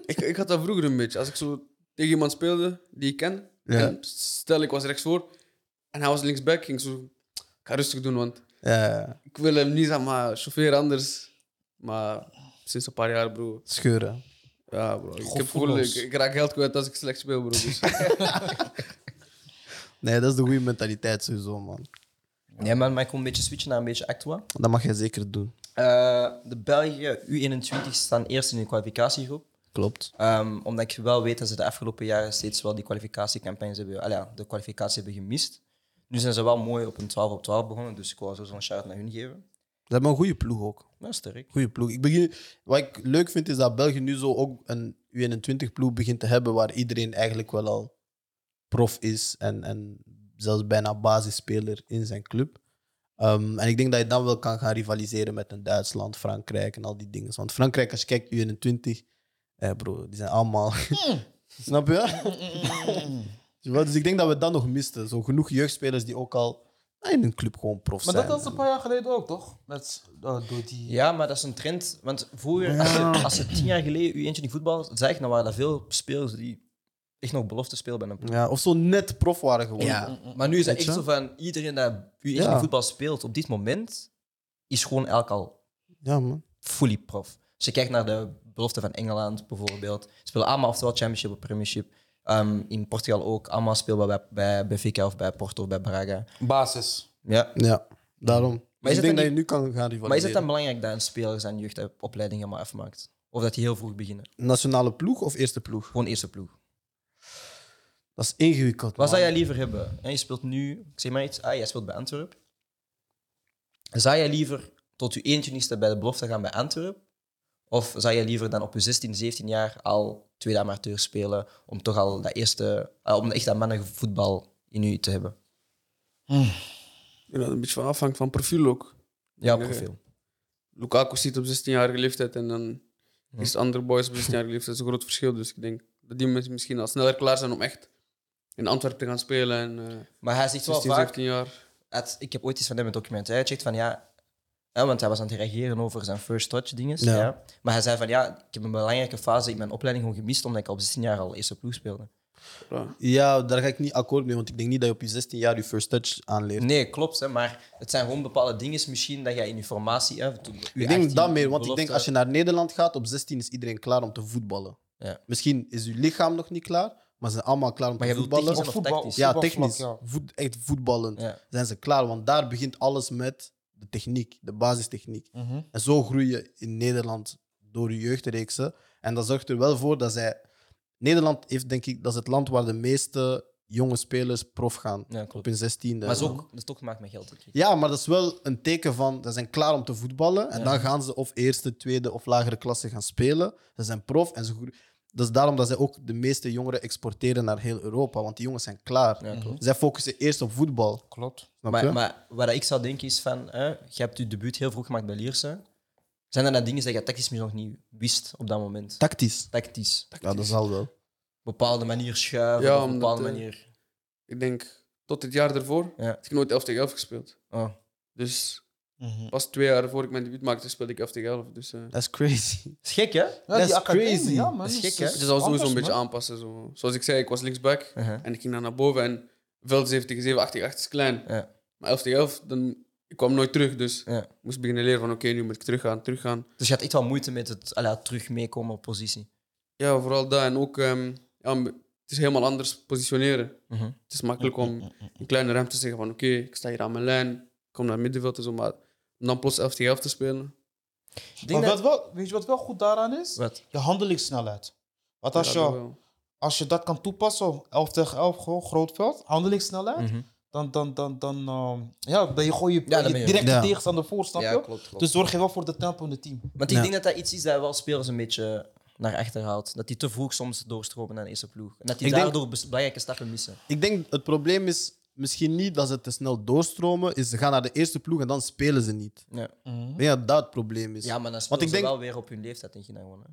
Ik, ik had dat vroeger een beetje. Als ik zo tegen iemand speelde die ik ken, Ja. en stel ik was rechtsvoor en hij was linksback, ging ik zo... Ik ga rustig doen, want Ja, ik wil hem niet, zeg maar, chauffeur anders. Maar sinds een paar jaar, bro... scheuren. Ja, bro. Ik, heb voel gevoel, ik, ons. ik raak geld kwijt als ik slecht speel, bro. <laughs> Dus. Nee, dat is de goede mentaliteit sowieso, man. Nee, maar, maar ik wil een beetje switchen naar een beetje actua. Dat mag jij zeker doen. Eh, de Belgen U21 staan eerst in de kwalificatiegroep. Klopt. Ehm, omdat ik wel weet dat ze de afgelopen jaren steeds wel die kwalificatiecampagnes hebben, al ja, de kwalificatie hebben gemist. Nu zijn ze wel mooi op een 12 op 12 begonnen, dus ik wil sowieso een shout naar hun geven. Ze hebben een goede ploeg ook. Nou, sterk. Goede ploeg. Ik begin, wat ik leuk vind is dat België nu zo ook een U21-ploeg begint te hebben waar iedereen eigenlijk wel al prof is en, en zelfs bijna basisspeler in zijn club. Ehm, en ik denk dat je dan wel kan gaan rivaliseren met een Duitsland, Frankrijk en al die dingen. Want Frankrijk, als je kijkt, U21, eh bro, die zijn allemaal. <laughs> Snap je? Je <laughs> wel, Dus ik denk dat we dat nog misten. Zo genoeg jeugdspelers die ook al nou, in hun club gewoon prof Maar zijn. dat was een paar jaar geleden ook, toch? Met, eh, door die... Ja, maar dat is een trend. Want vroeger, als je, als je tien jaar geleden u eentje in voetbal zag, dan waren er veel spelers die echt nog belofte spelen bij een ploeg. ja, of zo net prof waren gewoon. Ja, maar nu is het Weet echt je? zo van iedereen dat u eentje Ja. voetbal speelt op dit moment, is gewoon elk al ja man. fully prof. Als je kijkt naar de belofte van Engeland bijvoorbeeld, spelen allemaal oftewel Championship of Premiership. Ehm, in Portugal ook, allemaal speelbaar bij, bij Benfica of bij Porto of bij Braga. Basis. Ja. Ja, daarom. Maar Maar is ik denk het dat dan je nu kan gaan rivaliseren. Maar is het dan belangrijk dat een speler zijn jeugdopleiding helemaal afmaakt? Of dat hij heel vroeg beginnen? Nationale ploeg of eerste ploeg? Gewoon eerste ploeg. Dat is ingewikkeld. Wat man. zou jij liever hebben? En je speelt nu, ik zeg maar iets, ah, jij speelt bij Antwerp. Zou jij liever tot je eentje bij de belofte gaan bij Antwerp? Of zou jij liever dan op je 16, 17 jaar al tweede amateur spelen om toch al dat eerste, ah, om echt dat mannenvoetbal in je te hebben? Ja, dat een beetje van afhangt van profiel ook. Jouw Ja, ja. profiel. Lukaku zit op 16-jarige leeftijd en dan is andere boys op 16-jarige leeftijd. Dat is een groot verschil. Dus ik denk dat die mensen misschien al sneller klaar zijn om echt in Antwerpen gaan spelen. En, eh Maar hij zegt wel 16, vaak, 17 jaar. het- ik heb ooit iets van hem in een documentaire gecheckt van ja, hè, want hij was aan het reageren over zijn first touch dinges. Ja. Ja. Maar hij zei van ja, ik heb een belangrijke fase in mijn opleiding gewoon gemist omdat ik al op 16 jaar al eerste ploeg speelde. Voilà. Ja, daar ga ik niet akkoord mee, want ik denk niet dat je op je 16 jaar je first touch aanleert. Nee, klopt, hè, maar het zijn gewoon bepaalde dingen misschien dat jij in je formatie... Hè, toen, Ik denk dat meer, want ik denk als je naar Nederland gaat, op 16 is iedereen klaar om te voetballen. Ja. Misschien is je lichaam nog niet klaar, maar ze zijn allemaal klaar om Maar te je bedoelt voetballen. technisch en of tactisch? Ja, voetbalvlak, technisch. ja. Voet- echt voetballen. Ja. Zijn ze klaar? Want daar begint alles met de techniek, de basistechniek. Mhm. En zo groei je in Nederland door je jeugdreeksen. En dat zorgt er wel voor dat zij. Nederland heeft, denk ik, dat is het land waar de meeste jonge spelers prof gaan. Ja, klopt. Op hun 16e. Maar zo, dat is toch gemaakt met geld. denk ik. Ja, maar dat is wel een teken van ze zijn klaar om te voetballen. En Ja. dan gaan ze of eerste, tweede of lagere klasse gaan spelen. Ze zijn prof en ze groeien. Dat is daarom dat zij ook de meeste jongeren exporteren naar heel Europa. Want die jongens zijn klaar. Ja, klopt. Zij focussen eerst op voetbal. Klopt. Snap je? Maar, maar wat ik zou denken is van, hè, je hebt je debuut heel vroeg gemaakt bij Lierse. Zijn er dan dingen die je tactisch misschien nog niet wist op dat moment? Tactisch. Tactisch. Ja, dat zal wel. bepaalde manier schuiven Ja, op een omdat, bepaalde eh, manier. Ik denk, tot het jaar daarvoor Ja. had ik nooit 11 tegen 11 gespeeld. Oh. Dus Mhm. pas twee jaar voor ik mijn debuut maakte, speelde ik 11 tegen 11. Dus, eh Dat is crazy. Dat is gek, hè? Ja, That's die academie, crazy. Ja, man, Dat is gek, hè? dus dat was sowieso anders, een beetje man. aanpassen. Zo. Zoals ik zei, ik was linksback. Uh-huh. En ik ging dan naar boven en veld 7 tegen 7, 8 tegen 8 is klein. Ja. Maar 11 tegen 11, dan, ik kwam nooit terug. Dus Ja. ik moest beginnen leren van oké, nu moet ik teruggaan, teruggaan. Dus je had echt wel moeite met het à la, terug meekomen op positie. Ja, vooral dat. En ook, ehm, ja, m- het is helemaal anders positioneren. Mhm. Het is makkelijk om in kleine ruimte te zeggen van oké, ik sta hier aan mijn lijn, ik kom naar het middenveld en zo. Maar om dan plots 11 tegen 11 te spelen. Ik Maar denk wat dat... wel, weet je wat wel goed daaraan is? Wat? Je handelingssnelheid. Want als, ja, dat je, wel. als je dat kan toepassen, 11 tegen 11, gewoon groot veld, handelingssnelheid, Mhm. dan, dan, dan, dan, ehm, ja, dan je gooi je, Ja, dan je ben je- directe Ja. tegenstander voor, snap Ja, je? klopt. klopt. Dus zorg je wel voor de tempo in het team. Want ik Ja. denk dat dat iets is dat wel spelers een beetje naar achter haalt. Dat die te vroeg soms doorstromen naar de eerste ploeg. En dat die Ik denk- daardoor bes- belangrijke stappen missen. Ik denk het probleem is misschien niet dat ze te snel doorstromen. Is ze gaan naar de eerste ploeg en dan spelen ze niet. Ja, Ik denk dat dat het probleem is. ja maar dan spelen ik ze denk- wel weer op hun leeftijd, denk je dan gewoon. hè?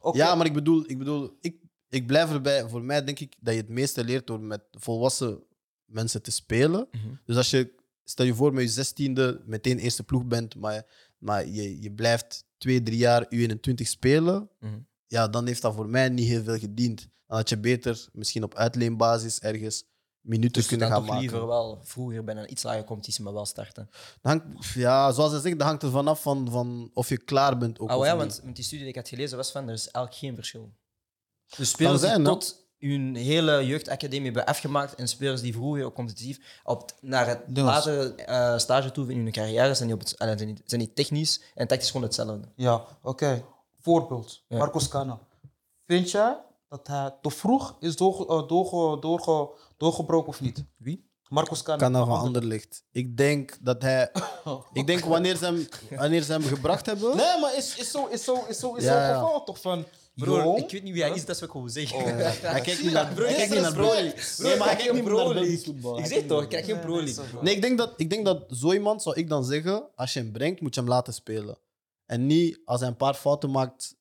Oké. Ja, maar ik bedoel, ik, bedoel ik, ik blijf erbij. Voor mij denk ik dat je het meeste leert door met volwassen mensen te spelen. Mhm. Dus als je, stel je voor, met je zestiende meteen eerste ploeg bent, maar, maar je, je blijft twee, drie jaar U21 spelen, Mhm. ja, dan heeft dat voor mij niet heel veel gediend. Dan had je beter misschien op uitleenbasis ergens minuten Dus kunnen dan gaan toch maken. liever wel vroeger bij een iets lagere competitie, maar wel starten. Dat hangt, ja, zoals hij zegt, dat hangt er vanaf van, van of je klaar bent ook. Oh of ja, niet. want met die studie die ik had gelezen was van er is eigenlijk geen verschil. Dus spelers zijn, die hè? tot hun hele jeugdacademie hebben afgemaakt en spelers die vroeger ook competitief op, het- naar het Dus. latere eh, stage toe in hun carrière zijn die, op het, eh, zijn die, zijn die technisch en tactisch gewoon hetzelfde. Ja, oké. Voorbeeld. Ja. Marcos Cana. Vind jij dat hij te vroeg is doorge, eh, doorge, doorge, doorgebroken of niet? Wie? Marcos Cana. kan van ander licht. Ik denk dat hij. <laughs> Ik denk wanneer ze hem, wanneer ze hem gebracht hebben. Nee, maar is, is zo is zo, is zo, is Ja, zo'n ja. geval toch van... Broer, jong? ik weet niet wie hij is, dat is wat ik gewoon zeggen. <laughs> Hij kijkt niet naar Broer, hij kijkt dit niet is naar broer. Broly. Nee, maar hij kijkt niet niet naar naar Broly. Belgisch voetbal. Ik Hij zeg toch, ik krijg geen Nee, pro nee, league. zo. Nee, ik denk dat, ik denk dat zo iemand zou ik dan zeggen: als je hem brengt, moet je hem laten spelen. En niet als hij een paar fouten maakt,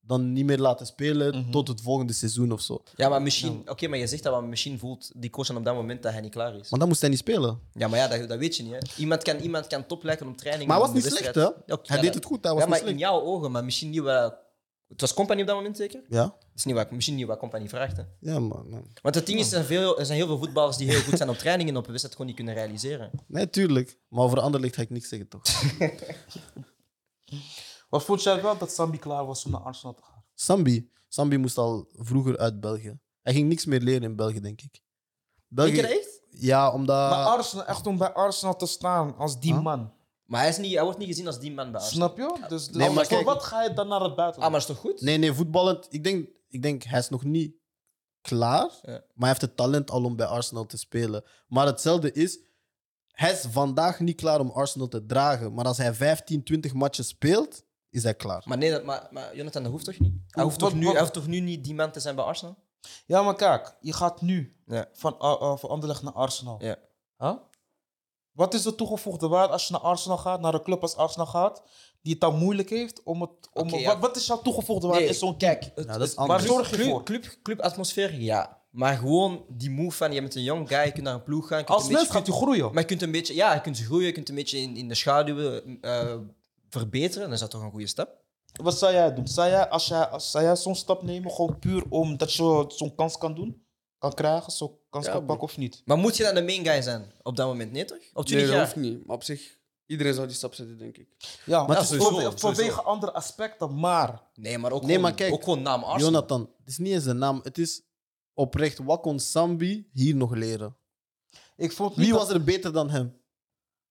dan niet meer laten spelen Mhm. tot het volgende seizoen of zo. Ja, maar misschien, oké, maar je zegt dat, maar misschien voelt die coach dan op dat moment dat hij niet klaar is. Want dan moest hij niet spelen. Ja, maar ja, dat, dat weet je niet. Hè. Iemand kan, iemand kan top lijken op training. Maar hij om was niet de slecht, hè? wedstrijd- Ja, Hij ja, deed dat- het goed, hij was Ja, niet maar in slecht. jouw ogen, maar misschien niet wat... Het was Company op dat moment zeker? Ja, Dat is niet wat, misschien niet wat Company vraagt. Hè. ja man. Want het ding is, er zijn, veel, er zijn heel veel voetballers die heel goed zijn op trainingen en op een wedstrijd gewoon niet kunnen realiseren. Nee, tuurlijk. Maar over ander licht ga ik niks zeggen, toch? Wat vond jij wel dat Sambi klaar was om naar Arsenal te gaan? Sambi. Sambi moest al vroeger uit België. Hij ging niks meer leren in België, denk ik. Denk je België, dat echt? ja, omdat. Eh, Maar Arsenal, echt om bij Arsenal te staan als die Huh? man. Maar hij, is niet, hij wordt niet gezien als die man bij Arsenal. Snap je? Dus, dus Nee, maar voor kijk- wat ga je dan naar het Ah, maar buitenland? dat is toch goed? Nee, nee, voetballend. Ik denk, ik denk hij is nog niet klaar. Ja. Maar hij heeft het talent al om bij Arsenal te spelen. Maar hetzelfde is, hij is vandaag niet klaar om Arsenal te dragen. Maar als hij 15, 20 matchen speelt, is hij klaar. Maar nee, dat, maar, maar Jonathan, dat hoeft toch niet? Hij hoeft Wat- toch, nu, wat- hij hoeft toch nu niet die man te zijn bij Arsenal? Ja, maar kijk, je gaat nu Ja. van, eh, eh, van Anderlecht naar Arsenal. Ja. Huh? Wat is de toegevoegde waarde als je naar Arsenal gaat, naar een club als Arsenal gaat, die het dan moeilijk heeft om het. Om, Oké, wat, ja. wat is jouw toegevoegde waarde Nee, Nou, in zo'n kijk? Het- Ja, dat is het- anders. Waar zorg je club, voor? Club, clubatmosfeer, ja. Maar gewoon die move van, je bent een young guy, je kunt naar een ploeg gaan. je kunt Als een beetje- mens gaat je groeien. Maar je kunt een beetje, ja, je kunt groeien, je kunt een beetje in, in de schaduwen eh, verbeteren. Dan is dat toch een goede stap. Wat zou jij doen? Zou jij, als jij, als, zou jij zo'n stap nemen, gewoon puur omdat je zo'n kans kan doen? Kan krijgen, zo'n kans Ja, kan bro. pakken of niet? Maar moet je dan de main guy zijn op dat moment? Nee, toch? Op 20 Nee, dat jaar? hoeft niet. Maar op zich, iedereen zou die stap zetten, denk ik. Ja, maar Ja, het is sowieso, voorwe- sowieso. vanwege andere aspecten, maar... Nee, maar ook, Nee, gewoon, maar kijk, ook gewoon naam Arsenal. Jonathan, het is niet eens een naam. Het is oprecht, wat kon Sambi hier nog leren? Ik vond niet Wie dat- was er beter dan hem?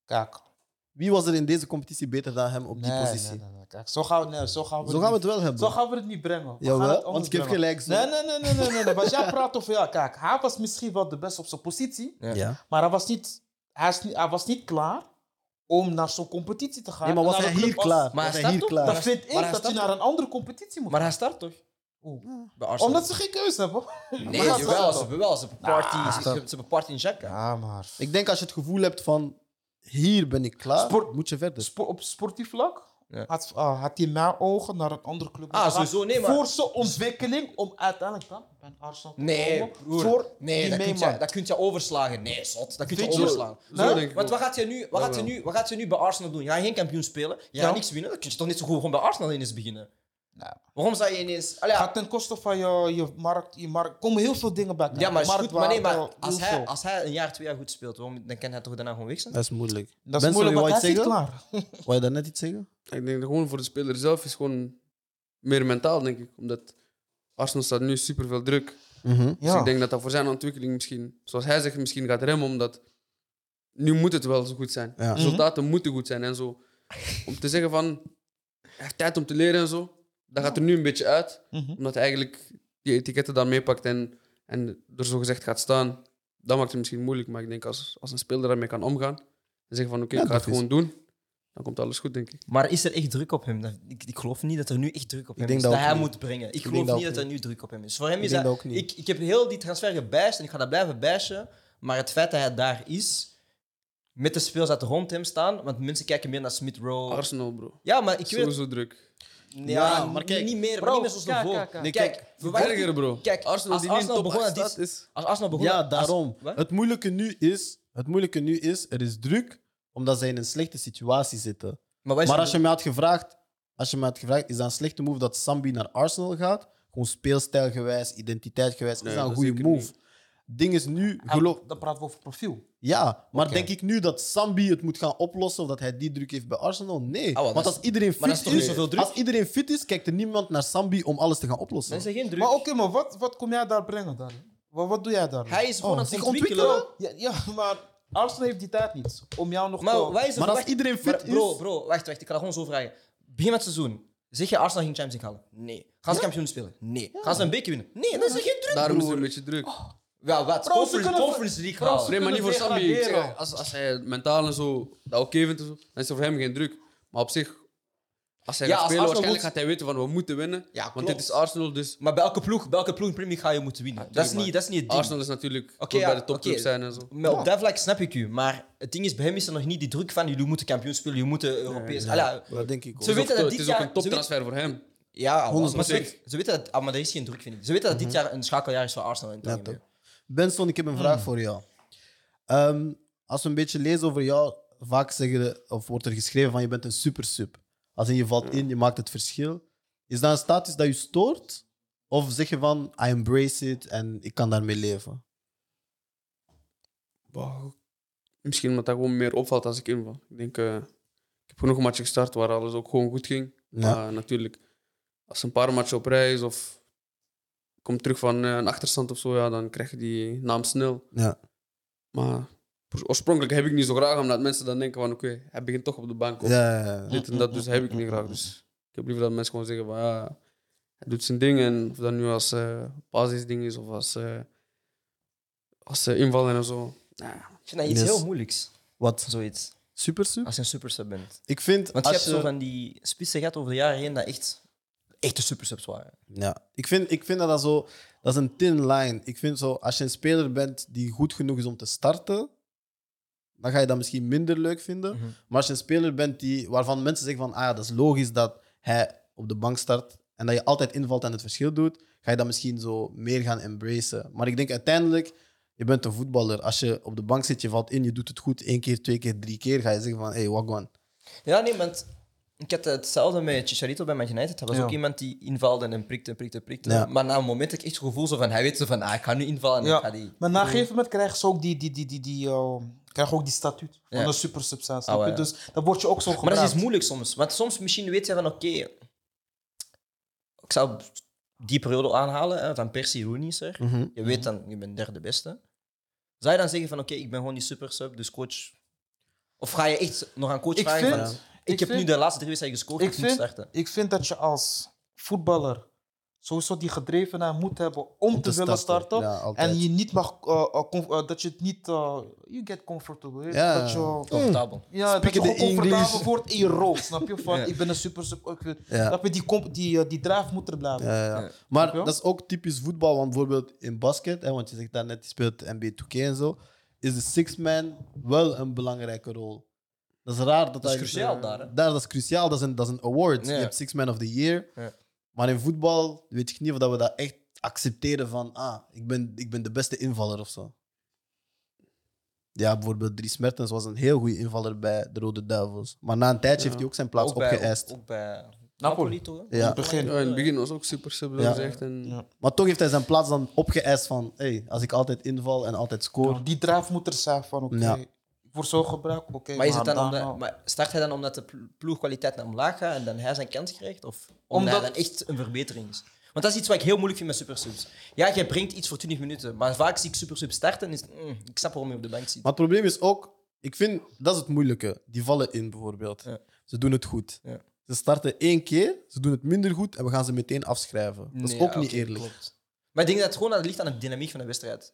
Kijk. Wie was er in deze competitie beter dan hem op die Nee, positie? nee, nee, nee, kijk. Zo gaan we, nee, zo gaan we, Zo gaan we het wel hebben. Zo gaan we het niet brengen. We gaan Jawel, het anders want ik heb brengen. gelijk, zo. Nee, nee, nee, nee, nee, nee, nee. Want jij praat over, ja, kijk, hij was misschien wel de beste op zijn positie, Ja. maar hij was niet, hij is niet, hij was niet klaar om naar zo'n competitie te gaan. Nee, maar was Naar hij een hier club als- klaar? Maar Was hij hij staat hier op. klaar? Dan vind Maar ik hij dat hij staat- naar een andere competitie moet. Maar hij start toch? Oeh. Bij Arsenal. Omdat ze geen keuze hebben. Nee, Maar hij jawel, staat ze toch? hebben wel. Ze hebben party, ze, ze hebben party in Jacka. Ja, maar... Ik denk als je het gevoel hebt van hier ben ik klaar, Sport- moet je verder. Spo- op sportief vlak Ja. had, ah, had hij naar ogen naar een andere club Ah, moeten gaan sowieso, nee, maar- Voor zijn ontwikkeling om uiteindelijk dan bij een Arsenal te Nee, komen. broer. Voor nee, die dat kun, Neymar. je, dat kun je overslagen. Nee, zot. Dat kun je Vind je- overslaan. Zo Hè? denk ik Want wel. wat gaat, je nu, wat, gaat je nu, wat gaat je nu bij Arsenal doen? Je gaat geen kampioen spelen. Je Ja. gaat niks winnen. Dan kun je toch niet zo goed gewoon bij Arsenal ineens beginnen. Nee. Waarom zou je ineens... Allee, ja, Gaat ten koste van je, je markt. Je markt. Komen heel veel dingen bij. ja, maar is goed. Maar nee, maar Marktwaarde, als heel hij, veel. als hij een jaar, twee jaar goed speelt, waarom, dan kan hij toch daarna gewoon weg zijn? Dat is moeilijk. Dat is Ben, moeilijk, sorry, wou want hij je is het niet zeggen? klaar. Wou je dat net iets zeggen? Ik denk dat gewoon voor de speler zelf is gewoon meer mentaal, denk ik. Omdat Arsenal staat nu superveel druk. Dus Mhm. Ja. ik denk dat dat voor zijn ontwikkeling misschien, zoals hij zegt, misschien gaat remmen. Omdat nu moet het wel zo goed zijn. Ja. Mhm. Resultaten moeten goed zijn en zo. Om te zeggen van, hij heeft tijd om te leren en zo. Dat gaat er nu een beetje uit. Mhm. Omdat hij eigenlijk die etiketten dan meepakt en, en er zo gezegd gaat staan. Dat maakt het misschien moeilijk. Maar ik denk als, als een speler daarmee kan omgaan. En zeggen van, oké, ik ga het dat is- gewoon doen. Dan komt alles goed, denk ik. Maar is er echt druk op hem? Dat- Ik, ik geloof niet dat er nu echt druk op hem denk is. dat Dat, ook hij niet. moet brengen. Ik, denk geloof dat niet ook dat er nu druk op hem is. Voor hem Ik is denk dat... dat ook niet. Ik, ik heb heel die transfer gebijst en ik ga dat blijven bijsten. Maar het feit dat hij daar is, met de speels dat rond hem staan... Want mensen kijken meer naar Smith Rowe. Arsenal, bro. Ja, maar ik weet... Sowieso druk. Ja, Ja, maar maar kijk, niet meer, bro, niet meer zoals kijk, daarvoor. kijk, kijk. Nee, Kijk, we waren- Erger, bro. Kijk, Arsenal als die niet in Arsenal top begon aan 8 dit- staat, is... Als Arsenal begon... Ja, als- daarom. Wat? Het moeilijke, nu is, het moeilijke nu is, er is druk omdat zij in een slechte situatie zitten. Maar, Maar wij zijn- als je mij had gevraagd, als je mij had gevraagd, is dat een slechte move dat Sambi naar Arsenal gaat? Gewoon speelstijlgewijs, identiteitgewijs, Nee, is dat een dat goede zeker move? niet. Ding is nu, En geloof, Dan praten we over profiel. ja, maar Oké. denk ik nu dat Sambi het moet gaan oplossen of dat hij die druk heeft bij Arsenal? Nee. Ah, wel, Want dat is- als iedereen maar dat fit is toch niet is, zoveel druk? als iedereen fit is, kijkt er niemand naar Sambi om alles te gaan Dan oplossen. is er geen druk. Maar oké, maar wat, wat kom jij daar brengen dan? Wat, wat doe jij daar? Oh. Hij is gewoon aan het Oh, zich ontwikkelen. ontwikkelen? Ja, ja, maar Arsenal heeft die tijd niet om jou nog Maar te... wij zijn Maar als wacht, iedereen fit maar bro, is- Bro, wacht, wacht. Ik ga dat gewoon zo vragen. Begin met het seizoen. Zeg je Arsenal ging Champions League halen? Nee. Gaan ze kampioen spelen? Nee. Gaan ze een beker winnen? Nee, dat is geen druk, Daarom is broer. het een beetje druk. Ja, wat? Bro, ze conference, kunnen- conference League Bro, halen. ze- nee, maar niet voor kunnen Sambi. Ik degraderen. zeg, Als, als hij mentaal en zo dat oké vindt, en zo, dan is er voor hem geen druk. Maar op zich, als hij Ja, gaat als spelen, Arsenal waarschijnlijk moet- gaat hij weten van we moeten winnen. Ja, want klopt. dit is Arsenal, dus Maar bij elke ploeg, bij elke ploeg in Premier League ga je moeten winnen. dat, is tuurlijk, niet, dat is niet het ding. Arsenal is natuurlijk Oké, wil ja, bij de topclub oké. zijn en zo. Maar op dat vlak snap ik u. Maar het ding is, bij hem is er nog niet die druk van jullie moeten kampioen spelen, jullie moeten Europees... Allee, Dat denk ik ook. Het Ze is weten ook- dat het is dit ook jaar... een toptransfer voor hem. Ja, maar ze 100%. weten, ze weten dat... ah, maar er is geen druk, vind ik. Ze weten dat dit jaar een schakeljaar is voor Arsenal. In het Ja, algemeen. toch. Benson, ik heb een vraag voor jou. Ehm, als we een beetje lezen over jou, vaak zeggen de- of wordt er geschreven van je bent een super sub. Als in je valt in, je maakt het verschil. Is dat een status dat je stoort? Of zeg je van, I embrace it en ik kan daarmee leven? Misschien omdat dat gewoon meer opvalt als ik inval. Ik denk, eh, ik heb genoeg matchen gestart waar alles ook gewoon goed ging. Ja. Maar natuurlijk, als een paar matchen op reis of komt terug van eh, een achterstand of zo, ja, dan krijg je die naam snel. Ja. Maar oorspronkelijk heb ik niet zo graag, omdat mensen dan denken van oké, hij begint toch op de bank. Of Ja, dit en dat, dus heb ik niet graag. Dus ik heb liever dat mensen gewoon zeggen van ja, hij doet zijn ding. En of dat nu als eh basisding is of als, eh als eh, invallen en zo. Ja, Ik vind dat iets Yes. heel moeilijks. Wat? Zoiets. Super sub? Als je een supersub bent. Ik vind, Want je als hebt zo je, van die spitsen gehad over de jaren heen dat echt echte supersubs waren. ja, ik vind, ik vind dat, dat zo... Dat is een thin line. Ik vind zo, als je een speler bent die goed genoeg is om te starten, dan ga je dat misschien minder leuk vinden. Maar als je een speler bent die, waarvan mensen zeggen van, ah, ja, dat is logisch dat hij op de bank start en dat je altijd invalt en het verschil doet, ga je dat misschien zo meer gaan embracen. Maar ik denk uiteindelijk, je bent een voetballer. Als je op de bank zit, je valt in, je doet het goed één keer, twee keer, drie keer, ga je zeggen van, hey, wagwan. Ja, nee, want ik had hetzelfde met Chicharito bij Man United. Dat was ook iemand die invalde en prikte en prikte en prikte. Ja. Maar na een moment heb ik echt het gevoel zo van, hij weet zo van, ah, ik ga nu invallen en ik ga die... Maar na een gegeven moment krijgen ze ook die, die, die, die, die, eh, krijgen ook die statuut van Ja. een supersubstantie. Ah, wel, ja. Dus dan word je ook zo Maar gebruikt. dat is iets moeilijk soms. Want soms misschien weet je van, oké, ik zou die periode aanhalen, hè, van Persie Rooney is er. Mhm. Je weet dan, je bent derde beste. Zou je dan zeggen van, oké, ik ben gewoon die super sub, dus coach... Of ga je echt nog aan coach Ik vragen vind- van, ik ik, heb vind- nu de laatste drie wedstrijden gescoord, ik, ik moet vind- starten. Ik vind dat je als voetballer sowieso die gedrevenheid moet hebben om, te, willen starten. Ja, altijd. En je niet mag, eh, eh, conf- eh, dat je het niet, eh, you get comfortable. weet je, Ja. Dat je, Comfortabel. ja, dat je Speaking gewoon the comfortabel English. wordt in je rol. Snap je? Van, Ja. Ik ben een super, super ik wil- Ja. Snap je? Die, comp- die, eh, die draaf moet er blijven. Ja, ja. Ja. Maar Snap je? dat is ook typisch voetbal, want bijvoorbeeld in basket, hè, want je zegt net je speelt NBA 2K en zo, is de six-man wel een belangrijke rol. Dat is raar. Dat Dat is hij- cruciaal daar, hè? dat is cruciaal, dat is een, dat is een award. Ja. Je hebt six-man of the year. Ja. Maar in voetbal weet ik niet of dat we dat echt accepteren van, ah, ik ben, ik ben de beste invaller of zo. Ja, bijvoorbeeld Dries Mertens was een heel goede invaller bij de Rode Duivels. Maar na een tijdje heeft hij ook zijn plaats Ook bij- opgeëist. Ook bij Napoli. Napoli, toch? hè? Ja. In het begin. Ja, in het begin was ook super sub, Ja. gezegd. En Ja. Maar toch heeft hij zijn plaats dan opgeëist van... Hey, als ik altijd inval en altijd score... Die draaf moet er zijn van, oké, Ja. ik word zo gebruikt, oké. Maar, is het dan daarna- omdat, maar start hij dan omdat de plo- ploegkwaliteit naar omlaag gaat en dan hij zijn kans krijgt? Of omdat, Omdat- hij dan echt een verbetering is? Want dat is iets wat ik heel moeilijk vind met supersubs. Ja, jij brengt iets voor 20 minuten, maar vaak zie ik supersubs starten en is, mm, ik snap waarom je op de bank zit. Maar het probleem is ook... Ik vind... Dat is het moeilijke. Die vallen in, bijvoorbeeld. Ja. Ze doen het goed. Ja. Ze starten één keer, ze doen het minder goed en we gaan ze meteen afschrijven. Dat is Nee, ook ja, niet oké, eerlijk. klopt. Maar ik denk dat het gewoon aan het ligt aan de dynamiek van de wedstrijd.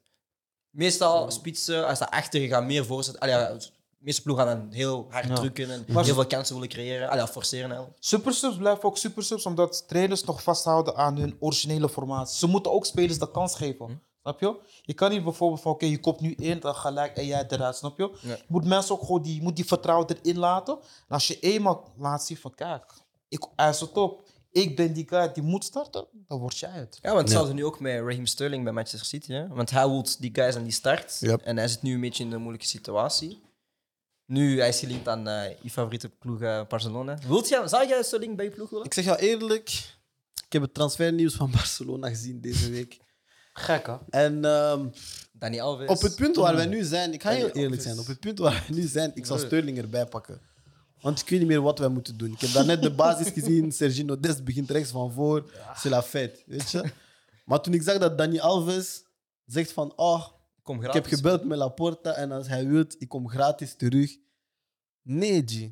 Meestal spitsen, als ze achter gaan, meer voorzetten. Allee, ja, de meeste ploegen gaan dan heel hard Ja. drukken en Maar- heel veel kansen willen creëren. Allee, ja, forceren. eigenlijk. Supersubs blijven ook supersubs, omdat trainers nog vasthouden aan hun originele formatie. Ze moeten ook spelers de kans geven. Hm. Snap je? Je kan niet bijvoorbeeld van, oké, je komt nu in, dan gelijk en jij eruit. Snap je? Ja. Je moet mensen ook gewoon die, je moet die vertrouwen erin laten. En als je eenmaal laat zien van, kijk, ik eis het op. Ik ben die guy die moet starten, dan word jij het. Ja, want hetzelfde nu ook met Raheem Sterling bij Manchester City. Hè? Want hij wil die guys aan die start. Yep. En hij zit nu een beetje in een moeilijke situatie. Nu, hij is gelinkt aan eh, je favoriete ploeg eh, Barcelona. Wilt jij, zou jij Sterling bij je ploeg willen? Ik zeg jou eerlijk... Ik heb het transfernieuws van <laughs> Barcelona gezien deze week. Gek, hè? En ehm, Dani Alves. op het punt waar wij nu zijn... Ik ga Ja, heel die eerlijk office. zijn. Op het punt waar wij nu zijn, ik zal Sterling erbij pakken. Want ik weet niet meer wat wij moeten doen. Ik heb daarnet de basis <laughs> gezien. Sergino Dest begint rechts van voor. C'est la fête, weet je. Maar toen ik zag dat Dani Alves zegt van... Oh, Kom ik gratis. heb gebeld met Laporta en als hij wilt, ik kom gratis terug. Nee, G.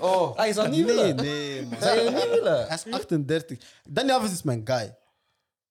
Oh, Ah, je zou het niet nee, <laughs> willen? nee, man. Zou je het niet willen? Hij is 38. Dani Alves is mijn guy.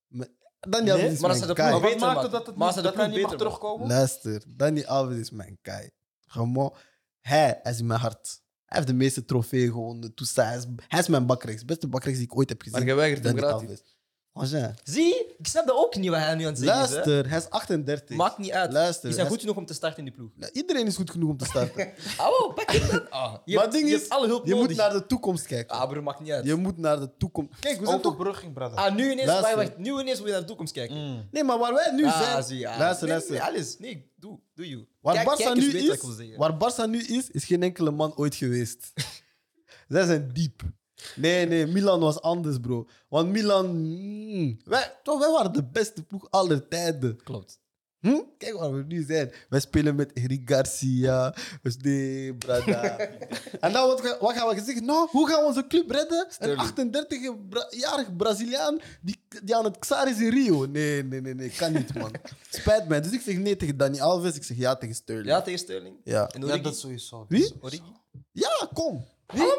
Maar- Dani Alves is Maar als hij mijn de guy. ploeg maar wat beter, maakt man. het dat, het Maar niet, ze dat, de hij ploeg niet mag beter maken. terugkomen? Luister, Dani Alves is mijn guy. Gewoon, hij, hij is in mijn hart. Hij heeft de meeste trofeeën gewonnen. Toesa. Hij, is, hij is mijn bakrechts. Beste bakrechts die ik ooit heb gezien. Maar jij weigert hem Dani gratis. Alves. Franchement. Zie, ik snap dat ook niet wat hij nu aan het zeggen is. hè. Luister, hij is 38. Maakt niet uit. Luister, Die zijn hij goed genoeg om te starten in die ploeg. is- Nou, Iedereen is goed genoeg om te starten. Oh, pak hem dan. Ah, <laughs> je Maar hebt, het ding je is, hebt alle hulp je nodig. moet naar de toekomst kijken. Ah, broer, maakt niet uit. Je moet naar de toekomst. Kijk, we zijn toch... Overbrugging, brother. Ah, nu ineens, Luister. wacht, wacht, nu ineens moet je naar de toekomst kijken. Nee, maar waar wij nu Ah, zijn... zie je, ah. Luister, Nee, luister. nee, alles. Nee, doe, doe you. Waar Kijk- Barça kijkers nu, weten wat ik is, wil zeggen. waar Barça nu is, is geen enkele man ooit <laughs> geweest. Zij zijn diep. Nee, nee, Milan was anders, bro. Want Milan... mm, wij, toch, wij waren de beste ploeg aller tijden. Klopt. Hm? Kijk waar we nu zijn. Wij spelen met Eric Garcia. We nee, <laughs> brada. en dan wat, ga- wat gaan we zeggen? Nou, hoe gaan we onze club redden? Sterling. Een 38-jarig Braziliaan die, die aan het Xar is in Rio. Nee, nee, nee, nee. Kan niet, <laughs> man. Spijt mij. Dus ik zeg nee tegen Dani Alves. Ik zeg ja tegen Sterling. Ja, tegen Sterling. Ja. En Ja, Origi. dat sowieso. Wie? Origi. Ja, kom.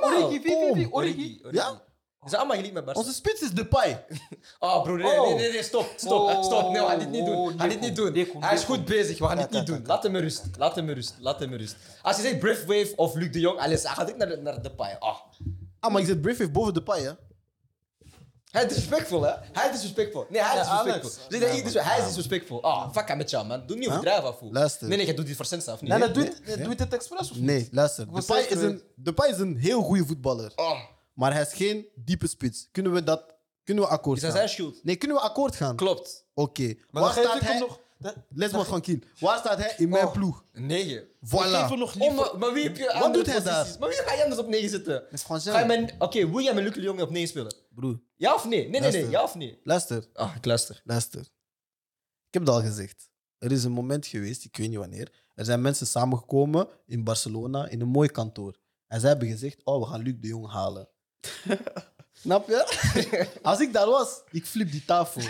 Origi, wie, wie, wie? Kom. Origi. Origi. Origi. Ja? Ze zijn allemaal geliefd met Barca. Onze spits is Depay. Ah, broer, nee, Oh. nee, nee, nee, stop, stop, Oh. stop. Nee, we gaan dit niet Oh, doen. We gaan dit Nico, niet doen. Nico, Hij is Nico. goed bezig, we gaan dit niet Kijk, kijk, doen. kijk. Laat hem met rust, laat hem met rust, laat hem met rust. Als je zegt Breathwave of Luc de Jong, alles, hij gaat ik naar, de- naar Depay. Ah. Ah, maar ik zet Brave boven Depay, hè. Hij is disrespectful, hè? Hij is disrespectful. Nee, hij is Ja, disrespectful. Alex. Nee, nee, ik- dus- hij is disrespectful. Ah, fuck hem met jou, man. Doe niet overdrijven, afvoer. Luister. Nee, nee, jij doet dit voor sensa, of niet? Nee, dat doet, nee. doet het expres of niet? Nee, luister. was Depay zelfs is, een, Depay is een heel goede voetballer. Ah. Maar hij is geen diepe spits. Kunnen we dat Kunnen we akkoord Is dat gaan? zijn schuld? Nee, kunnen we akkoord gaan? Klopt. Oké. Maar Waar dan geef staat ik hem hij... nog... dan- Les dan me van Kiel. Waar staat hij in mijn Oh. ploeg? Negen. geef hem Voilà. nog Oh, liever... maar, maar wie heb je andere doet hij posities? daar? Maar wie ga je anders op negen zitten? Is Ga je vanzelf. mijn... Oké, wil jij met Luc de Jong op negen spelen? Broer, Ja of nee? Nee, nee, nee. Luister. Ja of nee? luister. Ah, ik luister. Luister. Ik heb het al gezegd. Er is een moment geweest, ik weet niet wanneer. Er zijn mensen samengekomen in Barcelona in een mooi kantoor. En zij hebben gezegd: Oh, we gaan Luc de Jong <laughs> halen. Snap je? Als ik daar was, ik flip die <laughs> tafel.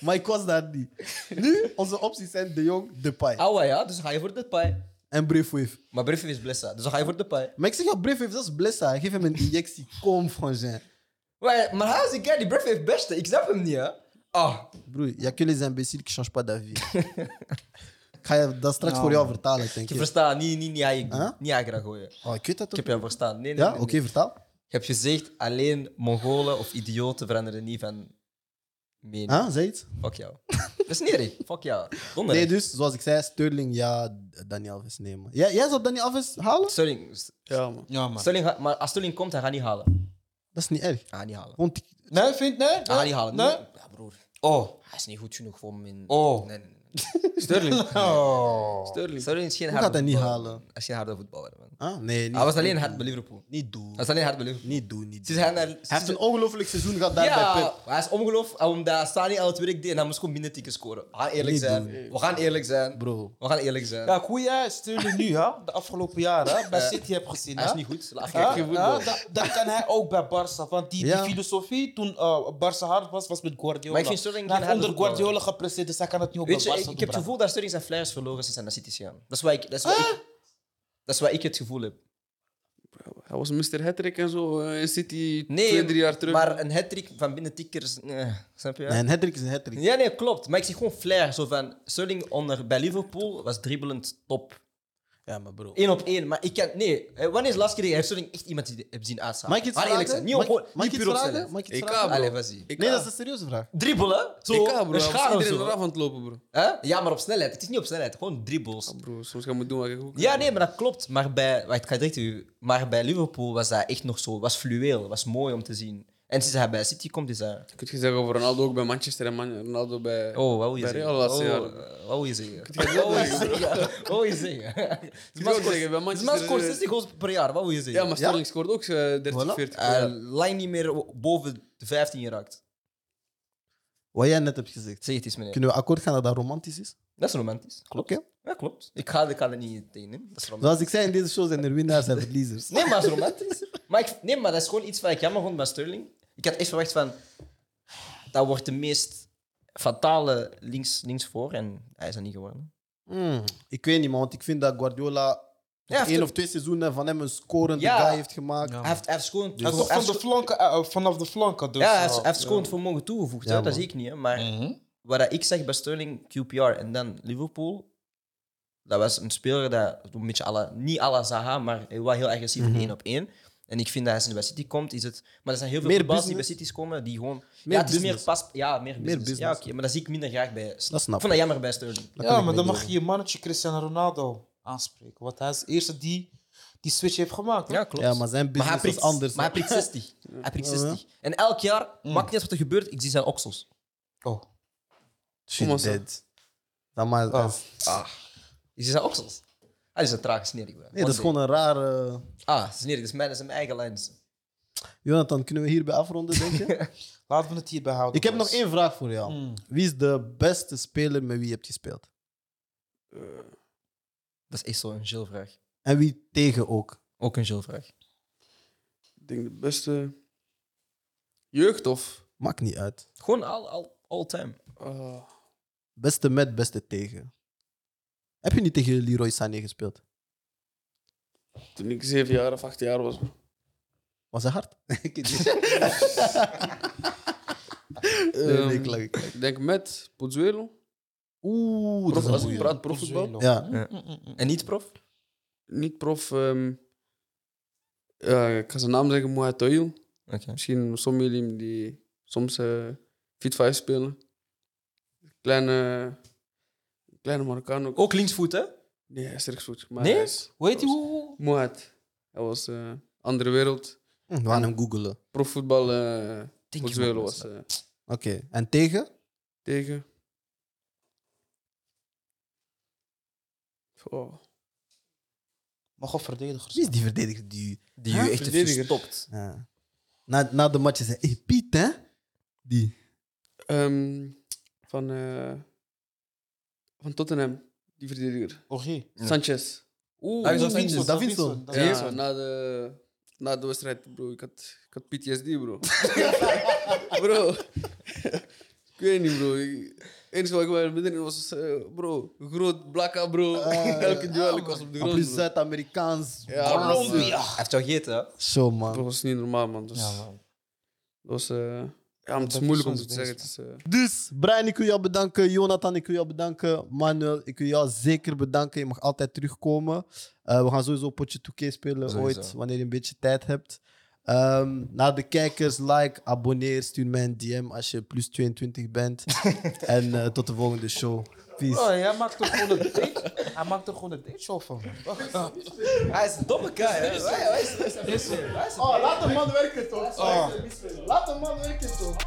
maar ik was daar niet. Nu, onze opties zijn De Jong, Depay Ouwe, ja, dus ga je voor Depay. en Brevoort. Maar Breffy is blessa, dus dan ga je voor Depay. Maar ik zeg ja, Brevoort, dat is blessa. Geef hem een injectie. Kom, Frangin. Maar, maar hij is een guy die Breffy heeft beste. Ik snap hem niet, hè? Ah, Broer, il y a que les imbéciles qui changent pas d'avis. ik ga je dat straks Nou, voor jou vertalen, denk je ik. verstaat. Niet, niet, niet, aan je- Huh? niet aan je graag gooien. Oh, ik weet dat Ik toch? heb jou verstaan. Nee, nee, Ja, nee, oké, nee. vertaal. Je hebt gezegd, alleen Mongolen of idioten veranderen niet van mening. Ah, zei iets? Fuck jou. <laughs> Dat is niet recht. Fuck jou. Donder. Nee, dus zoals ik zei, Sterling, ja, Dani Alves nemen. Jij, jij zou Dani Alves halen? Sterling, Ja, man. Ja, man. Sterling gaat- maar als Sterling komt, hij gaat niet halen. Dat is niet erg. Hij gaat niet halen. Want ik- Nee, vind Nee? Hij gaat niet Ah, halen. Nee? Ja, broer. Oh. Hij is niet goed genoeg voor mijn... Oh. Nee, nee, nee. Sterling. <laughs> Oh. Sterling. Sterling is geen Hoe harde gaat hij niet voetballer, halen? man. Hij is geen harde voetballer, man. ah, nee, niet, Hij was alleen hard bij Liverpool. niet doen. Hij is alleen hard bij Liverpool. Niet doen, niet Sinds doen. hij naar... Hij heeft een ongelooflijk seizoen gehad daar bij Ja, Pep. hij is ongeloof omdat Sani al het werk deed en hij moest gewoon minder tikken scoren. We gaan eerlijk Niet zijn. doen. We gaan eerlijk zijn. Bro. We gaan eerlijk zijn. Ja, hoe jij Sterling nu, hè? De afgelopen jaren, hè? Bij Eh, City heb gezien, Hij is hè? niet goed. Laat Ja, kijken. ja, dat, dat kan hij ook bij Barça. Want die, Ja. die filosofie toen eh, Barça hard was, was met Guardiola. Maar ik vind Sterling Hij geen heeft harde onder voetballer. Guardiola gepresteerd, dus hij kan het niet op bij Weet Barça je, ik, doen, ik heb het Bram. gevoel dat Sterling zijn flyers verloren sinds hij naar City is gegaan. Dat is wat ik, dat is wat ik, dat is wat ik het gevoel heb. Hij was Mr. Hattrick en zo eh, in City Nee, twee, drie jaar terug. maar eh, een hat-trick van binnen tikkers, nee, snap je? Nee, een hat is een hat Ja, nee, klopt. Maar ik zie gewoon flair. Zo van, Sterling onder, bij Liverpool was dribbelend top. Ja, maar bro. Eén op één. Maar ik kan... Nee, eh, wanneer is de laatste keer dat je Sterling echt iemand die- hebt zien uitstaan? Mag ik iets Laat eerlijk vragen? zijn. Niet, Mag- op, gewoon, mag ik niet iets puur op vragen? zelf. Mag ik iets Ik vragen? ga, bro. Allee, vas-y. Ik Nee, ga. dat is een serieuze vraag. Dribbelen? Zo, Ik ga, bro. Hij een was schaar of iedereen zo. eraf aan het lopen, bro. Hè? Ja, maar op snelheid. Het is niet op snelheid. Gewoon dribbles. Ja, bro. Soms ga je moet doen wat je goed kan. Ja, nee, maar dat klopt. Maar bij, wacht, ik ga direct u, maar bij Liverpool was dat echt nog zo. Was fluweel, was mooi om te zien. En sinds hij bij City komt, is dat. Kun je zeggen over Ronaldo ook bij Manchester en Man- Ronaldo bij... Oh, wat wil je Bij zeggen? Real laatste Oh, jaar. eh, Wat wil je zeggen? je dat Wat wil je zeggen, zeggen? <laughs> Wat wil je zeggen? Het ook zeggen, bij is maar Manchester scoort is- 60 goals per jaar, wat wil je zeggen? Ja, maar Sterling scoort ook eh, 30, Voilà. 40. Eh, ja. lang niet meer boven de 15 geraakt. Wat jij net hebt gezegd. Zeg het eens, meneer. Kunnen we akkoord gaan dat dat romantisch is? Dat is romantisch. Klopt. Oké. Ja, klopt. Ik ga, ik ga er niet tegen in. Dat is romantisch. Zoals ik zei, in deze show zijn er winnaars en <laughs> verliezers. Nee, maar dat is romantisch. maar ik, nee, maar dat is gewoon iets wat ik jammer vond bij Sterling. Ik had echt verwacht van... Dat wordt de meest fatale links, links voor. En hij is dat niet geworden. Mm, ik weet niet, man, want ik vind dat Guardiola Hmm. Ja, heeft één hem- of twee seizoenen van hem een scorende Ja. guy heeft gemaakt. Ja. Hij heeft, hij heeft gewoon... Hij is toch hij van heeft de flanken, eh, eh, vanaf de flanken, dus. ja, hij heeft, eh, hij heeft gewoon het vermogen toegevoegd. Ja, hè. Dat man. zie ik niet. Hè. Maar Mhm. wat dat ik zeg bij Sterling, QPR en dan Liverpool... Dat was een speler dat een beetje à la, niet à la Zaha, maar wel heel agressief Mhm. in één op één. En ik vind dat als hij bij City komt, is het... Maar er zijn heel veel Meer voetballers die bij business? City's komen die gewoon... Meer ja, het is meer business. pas... Ja, meer business. Ja, business. oké, maar dat zie ik minder graag bij... Dat snap Ik vond dat jammer bij Sterling. Daar kan ik ja maar mee dan mag leven. je je mannetje Cristiano Ronaldo aanspreken. Want hij is de eerste die die switch heeft gemaakt. hè? Ja, klopt. Ja, maar zijn Maar hij business prikt, is anders. Maar hij <laughs> prikt 60. Hij prikt 60. En elk jaar, Mm. maakt niet uit wat er gebeurt, ik zie zijn oksels. Oh. Shit, Kom maar, Sam. dead. Dat, maar, Oh. Ik zie zijn oksels. Hij is een trage snerik. bro. nee, dat is gewoon een rare... Ah, snerik. Dat is mijn, dat is mijn eigen lijn. Jonathan, kunnen we hierbij afronden, denk <laughs> je? Laten we het hierbij houden. ik heb nog boys. één vraag voor jou. Hmm. Mm. Wie is de beste speler met wie je hebt gespeeld? Eh, Dat is echt zo'n Jill-vraag. En wie tegen ook? Ook een Jill-vraag. Ik denk de beste... Jeugd of... Maakt niet uit. Gewoon all, all, all time. Ah, Beste met, beste tegen. Heb je niet tegen Leroy Sané gespeeld? toen ik zeven jaar of acht jaar was. Was hij hard? <laughs> Ehm, nee, ik lach, ik Ik denk met Pozuelo. Oeh, Prof, dat is als een ik goeie. praat profvoetbal. Ja. En niet, prof? Niet prof... ehm, ja, ik ga zijn naam zeggen, Mohamed Toyil. Oké. Misschien sommigen jullie die soms eh Fit 5 spelen. Kleine, kleine Marokkaan ook. Ook linksvoet, hè? Nee, hij is rechtsvoet. Maar Oh. Nee? hij is- Hoe heet hij? hij? Hoe- hoe- was- Moed. Hij was eh andere wereld. Hm, We gaan hem googelen. Profvoetbal. eh, Denk je Venezuela wel, was man. eh, Oké, en tegen? tegen. Oh. Mag wel verdedigers. Wie is die verdediger die... Die Huh? je echt heeft Verdediger. gestopt. Ja. Na, na de match zei hey, Piet, hè? Die. Ehm, van, eh, van Tottenham, die verdediger. Orgie. Ja. Sanchez. Oeh, Hij is al oeh. Davinson, Davinson. Ja, Davinson. na de, na de wedstrijd, bro. Ik had, ik had PTSD, <laughs> bro. bro. ik weet niet, bro. Ik- Het enige wat ik bij binnen was, eh, bro, groot blakka, bro. Ah, <laughs> Elke duel, ik was op de En grond. plus bro. Zuid-Amerikaans. Ja, Colombia. man. Hij heeft jou gegeten, hè? Zo, Bro, dat man. was niet normaal, man. Dat was, Ja, man. dat was, eh, ja, maar het is Dat moeilijk is om soms te zeggen. Het best, is, eh, Dus, Brian, ik wil jou bedanken. Jonathan, ik wil jou bedanken. Manuel, ik wil jou zeker bedanken. Je mag altijd terugkomen. Eh, we gaan sowieso potje 2K spelen Sowieso. ooit, wanneer je een beetje tijd hebt. Ehm, naar de kijkers, like, abonneer, stuur mij een DM als je plus 22 <laughs> bent. en eh, tot de volgende show. Peace. Oh, hij maakt er gewoon een date. Hij maakt er gewoon een date show van. Hij is een domme guy, hè? Is er? laat de man werken toch? Oh. Laat de man werken toch?